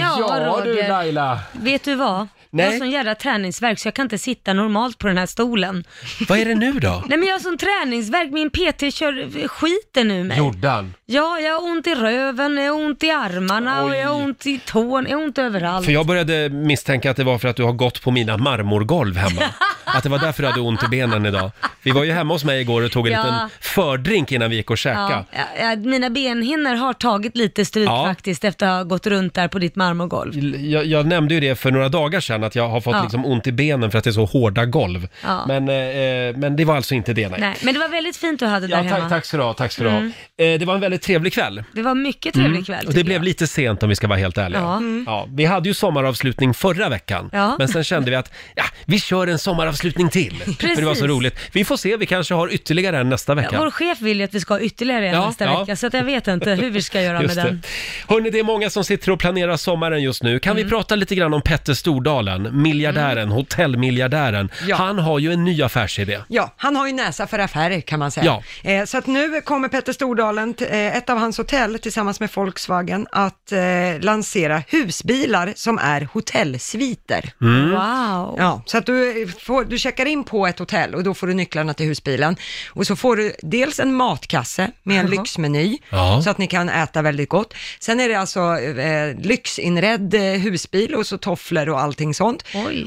ja, Ja, du Roger. Laila. Vet du vad? Nej. Jag har sån jävla träningsvärk så jag kan inte sitta normalt på den här stolen. Vad är det nu då? Nej men jag har sån träningsvärk. min PT kör skiten nu mig. Jordan. Ja, jag har ont i röven, jag har ont i armarna och jag har ont i tån, jag har ont överallt. För jag började misstänka att det var för att du har gått på mina marmorgolv hemma. Att det var därför du hade ont i benen idag. Vi var ju hemma hos mig igår och tog en Ja. liten fördrink innan vi gick och käkade. Ja, ja, ja, mina benhinnor har tagit lite stryk Ja. faktiskt efter att ha gått runt där på ditt marmorgolv. Jag, jag nämnde ju det för några dagar sedan, att jag har fått Ja. liksom ont i benen för att det är så hårda golv. Ja. Men, eh, eh, men det var alltså inte det, nej. Nej, men det var väldigt fint du hade Ja, där hemma. tack, tack ska du ha, tack ska du ha. Mm. Eh, det var en väldigt trevlig kväll. Det var mycket trevlig Mm. kväll. Och det blev lite sent om vi ska vara helt ärliga. Ja. Mm. Ja, vi hade ju sommaravslutning förra veckan, Ja. men sen kände vi att ja, vi kör en avslutning till. För det var så Precis. roligt. Vi får se, vi kanske har ytterligare en nästa vecka. Vår chef vill ju att vi ska ha ytterligare en Ja, nästa ja. vecka, så att jag vet inte hur vi ska göra med Just det. den. Hörni, det är många som sitter och planerar sommaren just nu. Kan vi Mm. prata lite grann om Petter Stordalen, miljardären, hotellmiljardären. Ja. Han har ju en ny affärsidé. Ja, han har ju näsa för affärer kan man säga. Ja. Eh, så att nu kommer Petter Stordalen, t- eh, ett av hans hotell tillsammans med Volkswagen, att eh, lansera husbilar som är hotellsviter. Mm. Wow! Ja, så att du, eh, får, du checkar in på ett hotell och då får du nycklarna till husbilen. Och så får du dels en matkasse med en Jaha. lyxmeny Ja. så att ni kan äta väldigt gott. Sen är det alltså eh, lyxinredd eh, husbil och så tofflor och allting sånt.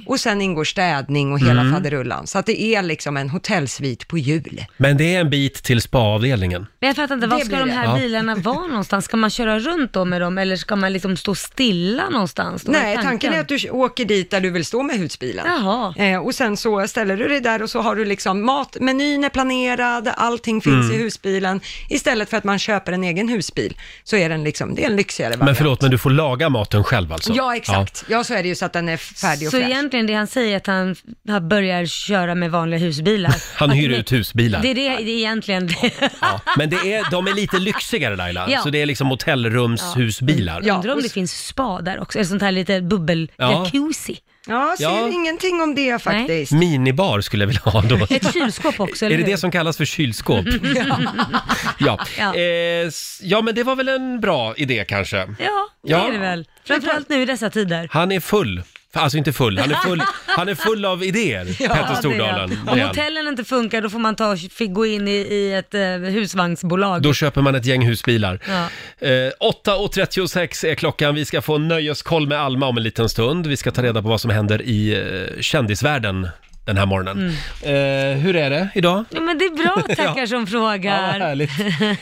Och sen ingår städning och hela Mm. faderullan. Så att det är liksom en hotellsvit på jul. Men det är en bit till spa-avdelningen. Men jag fattar inte, Det var ska blir de det. här Ja. bilarna vara någonstans? Ska man köra runt då med dem eller ska man liksom stå stilla någonstans? Då? Vad Nej, tanken är att du åker dit där du vill stå med husbilen. Jaha. Eh, och sen så ställer du dig där och så har du liksom mat, menyn är planerad, allting finns Mm. i husbilen. Istället för att man köper en egen husbil så är den liksom, det är en lyxigare variant. Men förlåt, men du får laga maten själv alltså? Ja, exakt. Ja. så är det ju så att den är färdig och Så fräsch. egentligen det han säger är att han, han börjar köra med vanliga husbilar. Han Att hyr det- ut husbilar. Det är det, det är egentligen det. Ja. Men det är, de är lite lyxigare Laila, Ja. så det är liksom hotellrumshusbilar. Undrar om det finns spa där också, eller sånt här lite Ja. bubbel-jacuzzi. Ja, ser Ja. ingenting om det faktiskt. Minibar skulle jag vilja ha då. Ett kylskåp också, eller Är det hur? det som kallas för kylskåp? Ja. Ja. Eh, s- ja, men det var väl en bra idé kanske? Ja, det Ja. är det väl. Framförallt nu i dessa tider. Han är full. Alltså inte full, han är full, han är full av idéer, Petter Stordalen. det är han. Det är Om han. hotellen inte funkar då får man ta, fick gå in i, i ett eh, husvagnsbolag. Då köper man ett gäng husbilar. Ja. Eh, 8.36 är klockan. Vi ska få en nöjeskoll med Alma om en liten stund. Vi ska ta reda på vad som händer i eh, kändisvärlden den här morgonen. Eh, hur är det idag? Ja, men det är bra tackar Ja. som Ja, frågar. vad härligt.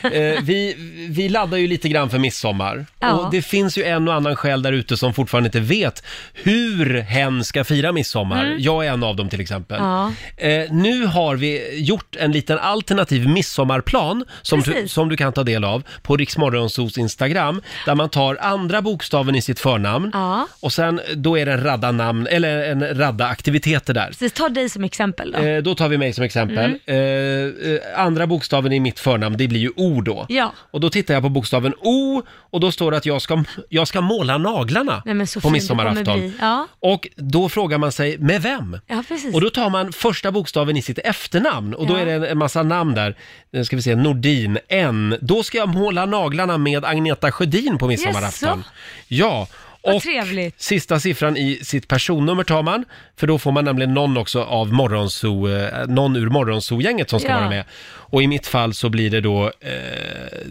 Eh, vi, vi laddar ju lite grann för midsommar. Ja. Och det finns ju en och annan själ där ute som fortfarande inte vet hur hen ska fira midsommar. Mm. Jag är en av dem till exempel. Ja. Eh, nu har vi gjort en liten alternativ midsommarplan som du, Precis. som du kan ta del av på Riksmorgonsos Instagram. Där man tar andra bokstaven i sitt förnamn Ja. och sen då är det en radda namn, eller en radda aktiviteter där. Precis, ta dig som exempel då. Eh, då tar vi mig som Mm. exempel. Eh, eh, andra bokstaven i mitt förnamn, det blir ju O då. Ja. Och då tittar jag på bokstaven O och då står det att jag ska, jag ska måla naglarna Nej, men så på fin du kommer midsommarafton. bli. Ja. Och då frågar man sig, med vem? ja, precis. Och då tar man första bokstaven i sitt efternamn och då Ja. är det en, en massa namn där. Nu ska vi se, Nordin, N. Då ska jag måla naglarna med Agneta Sjödin på midsommarafton. Jaså? Ja. Vad Och trevligt. sista siffran i sitt personnummer tar man, för då får man nämligen någon också av morgonso, eh, någon ur morgonzoo-gänget som ska Ja. vara med. Och i mitt fall så blir det då, eh,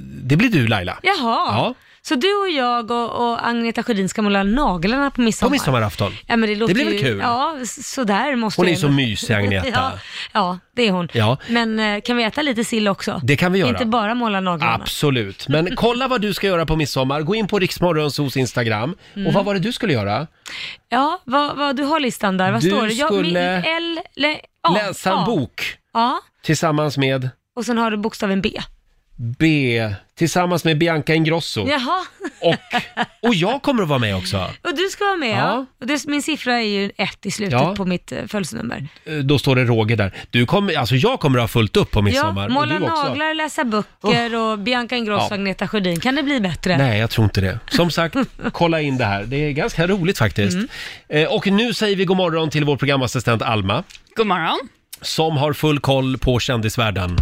det blir du Laila. Jaha. Ja. Så du och jag och, och Agneta Sjödin ska måla naglarna på midsommar? På midsommarafton. Ja, men det, låter blir väl ju, kul? Ja, s- sådär måste Hon jag är så ändå- mysig, Agneta. ja, ja, det är hon. Ja. Men eh, kan vi äta lite sill också? Det kan vi göra. Inte bara måla naglarna. Absolut, men kolla vad du ska göra på midsommar. Gå in på Riksmorgonsos Instagram. Och Mm. vad var det du skulle göra? Ja, vad, vad, du har listan där. Vad Du står det? Ja, min- skulle L, le, A, Läsa en A. bok Ja, tillsammans med och sen har du bokstaven B. B, tillsammans med Bianca Ingrosso. Jaha, Och jag kommer att vara med också. och du ska vara med Ja. ja. Och det, min siffra är ju ett i slutet Ja. på mitt eh, födelsenummer. Eh, Då står det Roger där. Du kommer, alltså jag kommer att ha fullt upp på midsommar. Ja, Och måla du också. Oh. naglar, läsa böcker och Bianca Ingrosso och Ja. Agneta Sjödin. Kan det bli bättre? Nej, jag tror inte det. Som sagt, kolla in det här. Det är ganska roligt faktiskt. Mm. Eh, Och nu säger vi god morgon till vår programassistent Alma, God morgon. som har full koll på kändisvärlden.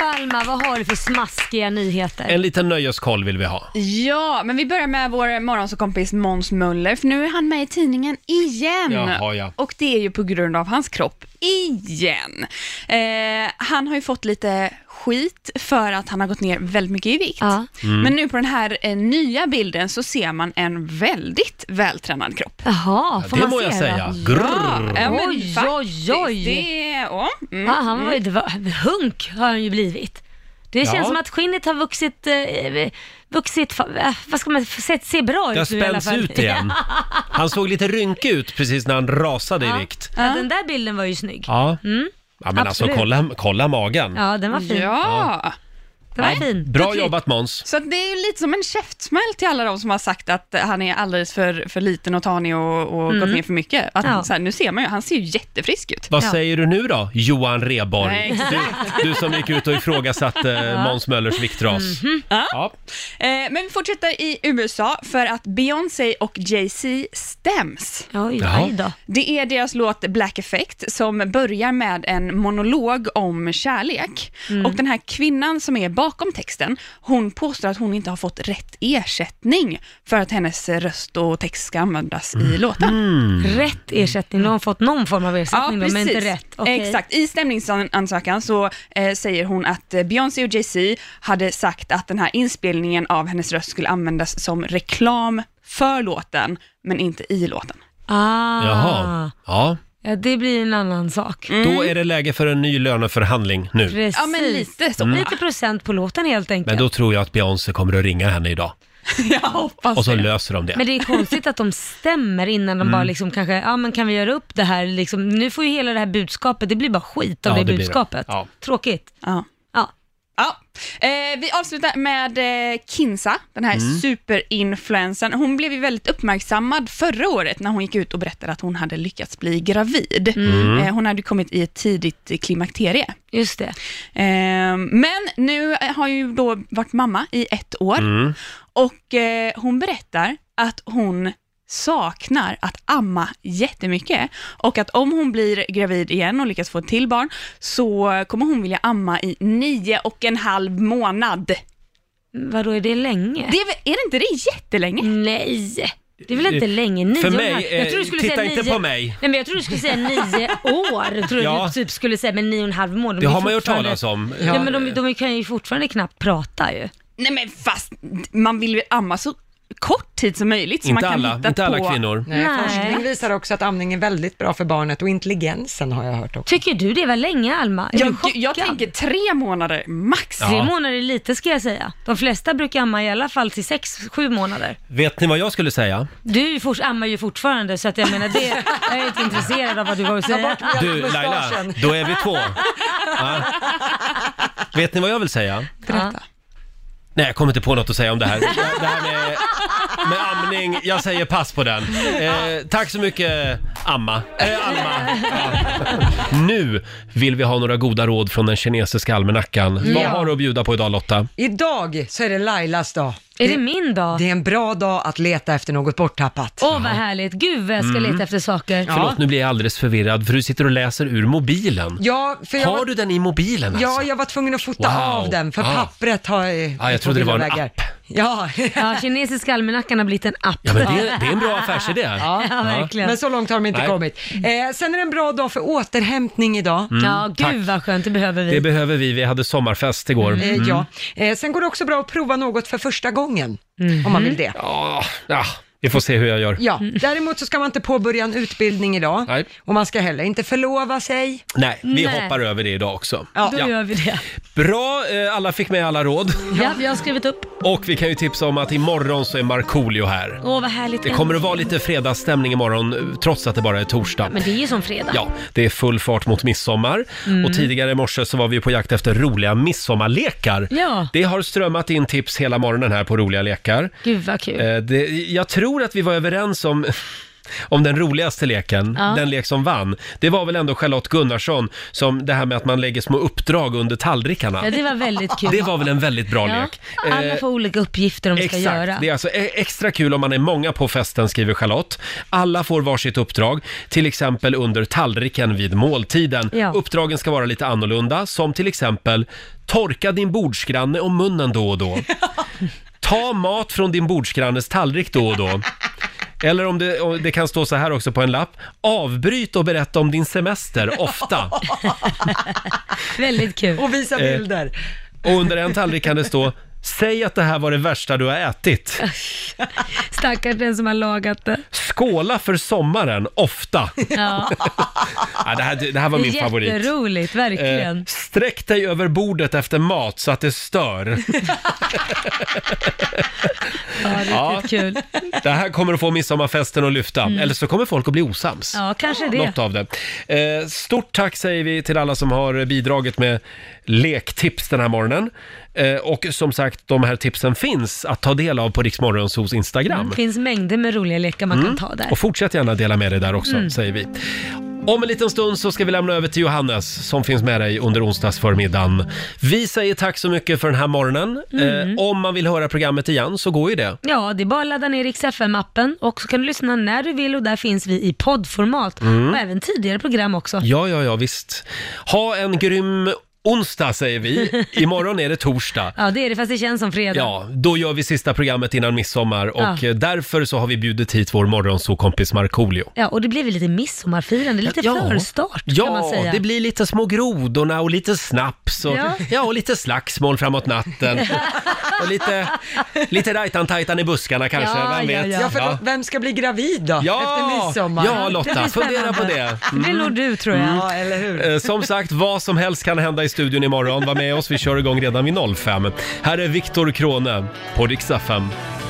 Alma, vad har du för smaskiga nyheter? En liten nöjeskoll vill vi ha. Ja, men vi börjar med vår morgonsåkompis Måns Möller, för nu är han med i tidningen igen. Jaha, ja. Och det är ju på grund av hans kropp igen. Eh, han har ju fått lite skit för att han har gått ner väldigt mycket i vikt. Mm. Men nu på den här eh, nya bilden så ser man en väldigt vältränad kropp. Jaha, får det man må se jag då? säga. Grrrr. Ja, ja, men Oj, faktiskt, oj, oj. Det är, ja, mm, Ja, han var ju, mm. det var, hunk har han ju blivit. Det Ja. känns som att skinnet har vuxit, eh, vuxit, fa- eh, vad ska man säga, ser bra Det har ut nu i alla spänts fall. ut igen. Han såg lite rynkig ut precis när han rasade i vikt. Ja, den där bilden var ju snygg. Ja. Mm. Ja men alltså Absolut. kolla, kolla magen. Ja, den var fin. Ja. Det var fint. Bra jobbat Måns. Så att det är ju lite som en käftsmäll till alla de som har sagt att han är alldeles för, för liten och tanig och, och Mm. gått ner för mycket. Att, Ja. så här, nu ser man ju, han ser ju jättefrisk ut. Vad säger du nu då, Johan Nej, Reborg? exakt. Du, du som gick ut och ifrågasatte Ja. eh, Måns Möllers viktras. Mhm. Ja. Ja. Eh, men vi fortsätter i USA för att Beyoncé och Jay-Z stäms. Oj, Jaha. aj då. Det är deras låt Black Effect som börjar med en monolog om kärlek. Mm. Och den här kvinnan som är bakom texten, hon påstår att hon inte har fått rätt ersättning för att hennes röst och text ska användas Mm. i låten. Rätt ersättning, de har fått någon form av ersättning då, men inte Mm. precis. rätt. Okej. Exakt. I stämningsansökan så eh, säger hon att eh, Beyoncé och Jay-Z hade sagt att den här inspelningen av hennes röst skulle användas som reklam för låten, men inte i låten. Ah, Jaha. Ja. Ja, det blir en annan sak. Då är det läge för en ny löneförhandling nu. Precis. Mm. Ja, men lite så. Mm. Lite procent på låten helt enkelt. Men då tror jag att Beyoncé kommer att ringa henne idag. jag hoppas Och så löser de det. Men det är konstigt att de stämmer innan de Mm. bara liksom kanske, ja men kan vi göra upp det här liksom, nu får ju hela det här budskapet, det blir bara skit av Ja, det, det blir det. budskapet. Ja. Tråkigt. Ja. Ja. Ja. Eh, vi avslutar med eh, Kinsa, den här Mm. superinfluensen. Hon blev ju väldigt uppmärksammad förra året när hon gick ut och berättade att hon hade lyckats bli gravid. Mm. Eh, hon hade kommit i ett tidigt klimakterie. Just det. Eh, men nu eh, har ju då varit mamma i ett år Mm. och eh, hon berättar att hon saknar att amma jättemycket och att om hon blir gravid igen och lyckas få ett till barn så kommer hon vilja amma i nio och en halv månad. Vadå, är det länge? Det är, väl- är det inte det jättelänge? Nej, det är väl inte Eh, länge? Nio för och en mig, halv- eh, du skulle titta säga inte nio- på mig. Nej men jag tror du skulle säga nio år, tror Ja. du typ skulle säga, men nio och en halv månad. Det har man ju hört fortfarande- talas om. Ja, men de, de kan ju fortfarande knappt prata ju. Nej men fast man vill ju amma så kort tid som möjligt så Inte man kan alla- hitta inte alla på... kvinnor. Nej, Forskning visar också att amning är väldigt bra för barnet och intelligensen har jag hört också. Tycker du det var länge Alma? Är Jag- du chockad? jag tänker tre månader max. Ja. Tre månader är lite ska jag säga. De flesta brukar amma i alla fall till sex, sju månader. Vet ni vad jag skulle säga? Du fort, ammar ju fortfarande så att jag menar det, jag är inte intresserad av vad du har att säga. Du Laila, då är vi två. Ja. Vet ni vad jag vill säga? Berätta. Nej, jag kommer inte på något att säga om det här. Det här med, med amning, jag säger pass på den. Eh, tack så mycket Amma. Eh, Alma. Nu vill vi ha några goda råd från den kinesiska almanackan. Vad Ja. har du att bjuda på idag Lotta? Idag så är det Lailas dag. Är det min dag? Det är en bra dag att leta efter något borttappat. Åh vad härligt, gud vad jag ska Mm. leta efter saker. Förlåt, nu blir jag alldeles förvirrad för du sitter och läser ur mobilen. Ja, för jag har var- du den i mobilen alltså? Ja, jag var tvungen att fota Wow. av den för Ah. pappret har... eh, Ja, jag trodde det var en app. Ja. ja, kinesiska almanackan har blivit en app. Ja, men det, det är en bra affärsidé. Ja, verkligen. Men så långt har de inte Nej. kommit. Eh, sen är det en bra dag för återhämtning idag. Mm, Ja, gud tack. vad skönt, det behöver Det behöver vi, vi hade sommarfest igår. Mm. Eh, ja. eh, sen går det också bra att prova något för första gången, om man vill det. Ja, ja, vi får se hur jag gör. Ja, däremot så ska man inte påbörja en utbildning idag Nej. och man ska heller inte förlova sig. Nej, vi Nej. hoppar över det idag också. Ja. Då gör vi det. Bra, eh, alla fick med alla råd. Ja, vi har skrivit upp. Och vi kan ju tipsa om att imorgon så är Markoolio här. Åh vad härligt. Det kommer att vara lite fredagsstämning imorgon, eh, trots att det bara är torsdag. Men det är ju som fredag. Ja, det är full fart mot midsommar. Mm. Och tidigare i morse så var vi på jakt efter roliga midsommarlekar. Ja. Det har strömmat in tips hela morgonen här på roliga lekar. Gud vad kul. Eh, det, jag tror att vi var överens om om den roligaste leken, Ja. den lek som vann, det var väl ändå Charlotte Gunnarsson som det här med att man lägger små uppdrag under tallrikarna. Ja, det var väldigt kul. Det var väl en väldigt bra Ja. lek. Alla Eh, får olika uppgifter de ska Exakt, göra. det är alltså e- extra kul om man är många på festen skriver Charlotte. Alla får varsitt uppdrag, till exempel under tallriken vid måltiden. Ja. Uppdragen ska vara lite annorlunda, som till exempel torka din bordsgranne om munnen då och då. Ta mat från din bordsgrannes tallrik då och då. Eller om det, om det kan stå så här också på en lapp. Avbryt och berätta om din semester ofta. Väldigt kul. Och visa Eh, bilder. Och under en tallrik kan det stå Säg att det här var det värsta du har ätit. Stackars den som har lagat det. Skåla för sommaren, ofta. Ja. Ja, det, här, det här var min favorit. Jätteroligt, verkligen. Eh, sträck dig över bordet efter mat så att det stör. ja, riktigt Eh, ja. kul. Det här kommer att få midsommarfesten att lyfta, eller så kommer folk att bli osams. Mm. Ja, kanske det. Något av det. Eh, stort tack säger vi till alla som har bidragit med lektips den här morgonen. Eh, och som sagt, de här tipsen finns att ta del av på Riksmorgonsos Instagram. Det finns mängder med roliga lekar man kan ta där. Mm. Och fortsätt gärna dela med dig där också, Mm. säger vi. Om en liten stund så ska vi lämna över till Johannes som finns med dig under onsdagsförmiddagen. Vi säger tack så mycket för den här morgonen. Mm. Eh, om man vill höra programmet igen så går ju det. Ja, det är bara att ladda ner Rix FM-appen och så kan du lyssna när du vill och där finns vi i poddformat Mm. och även tidigare program också. Ja, ja, ja, visst. Ha en grym onsdag säger vi. Imorgon är det torsdag. Ja, det är det, fast det känns som fredag. Ja, då gör vi sista programmet innan midsommar och Ja. eh, därför så har vi bjudit hit vår morgonsokompis Markoolio. Ja, och det blir väl lite midsommarfirande, lite Ja. förstart kan man Ja, säga. det blir lite små grodorna och lite snaps och, ja. Ja. och lite slagsmål framåt natten. Och lite, lite rajtan-tajtan i buskarna kanske, ja, vem vet? Ja, ja. förlåt, vem ska bli gravid då? Ja, Efter midsommar? ja, Lotta, Det blir fundera på spännande. det. Det blir Mm. nog du tror jag. Ja, eller hur? Eh, Som sagt, vad som helst kan hända i studion imorgon. Var med oss, vi kör igång redan vid 05. Här är Viktor Krone på Riksaffären.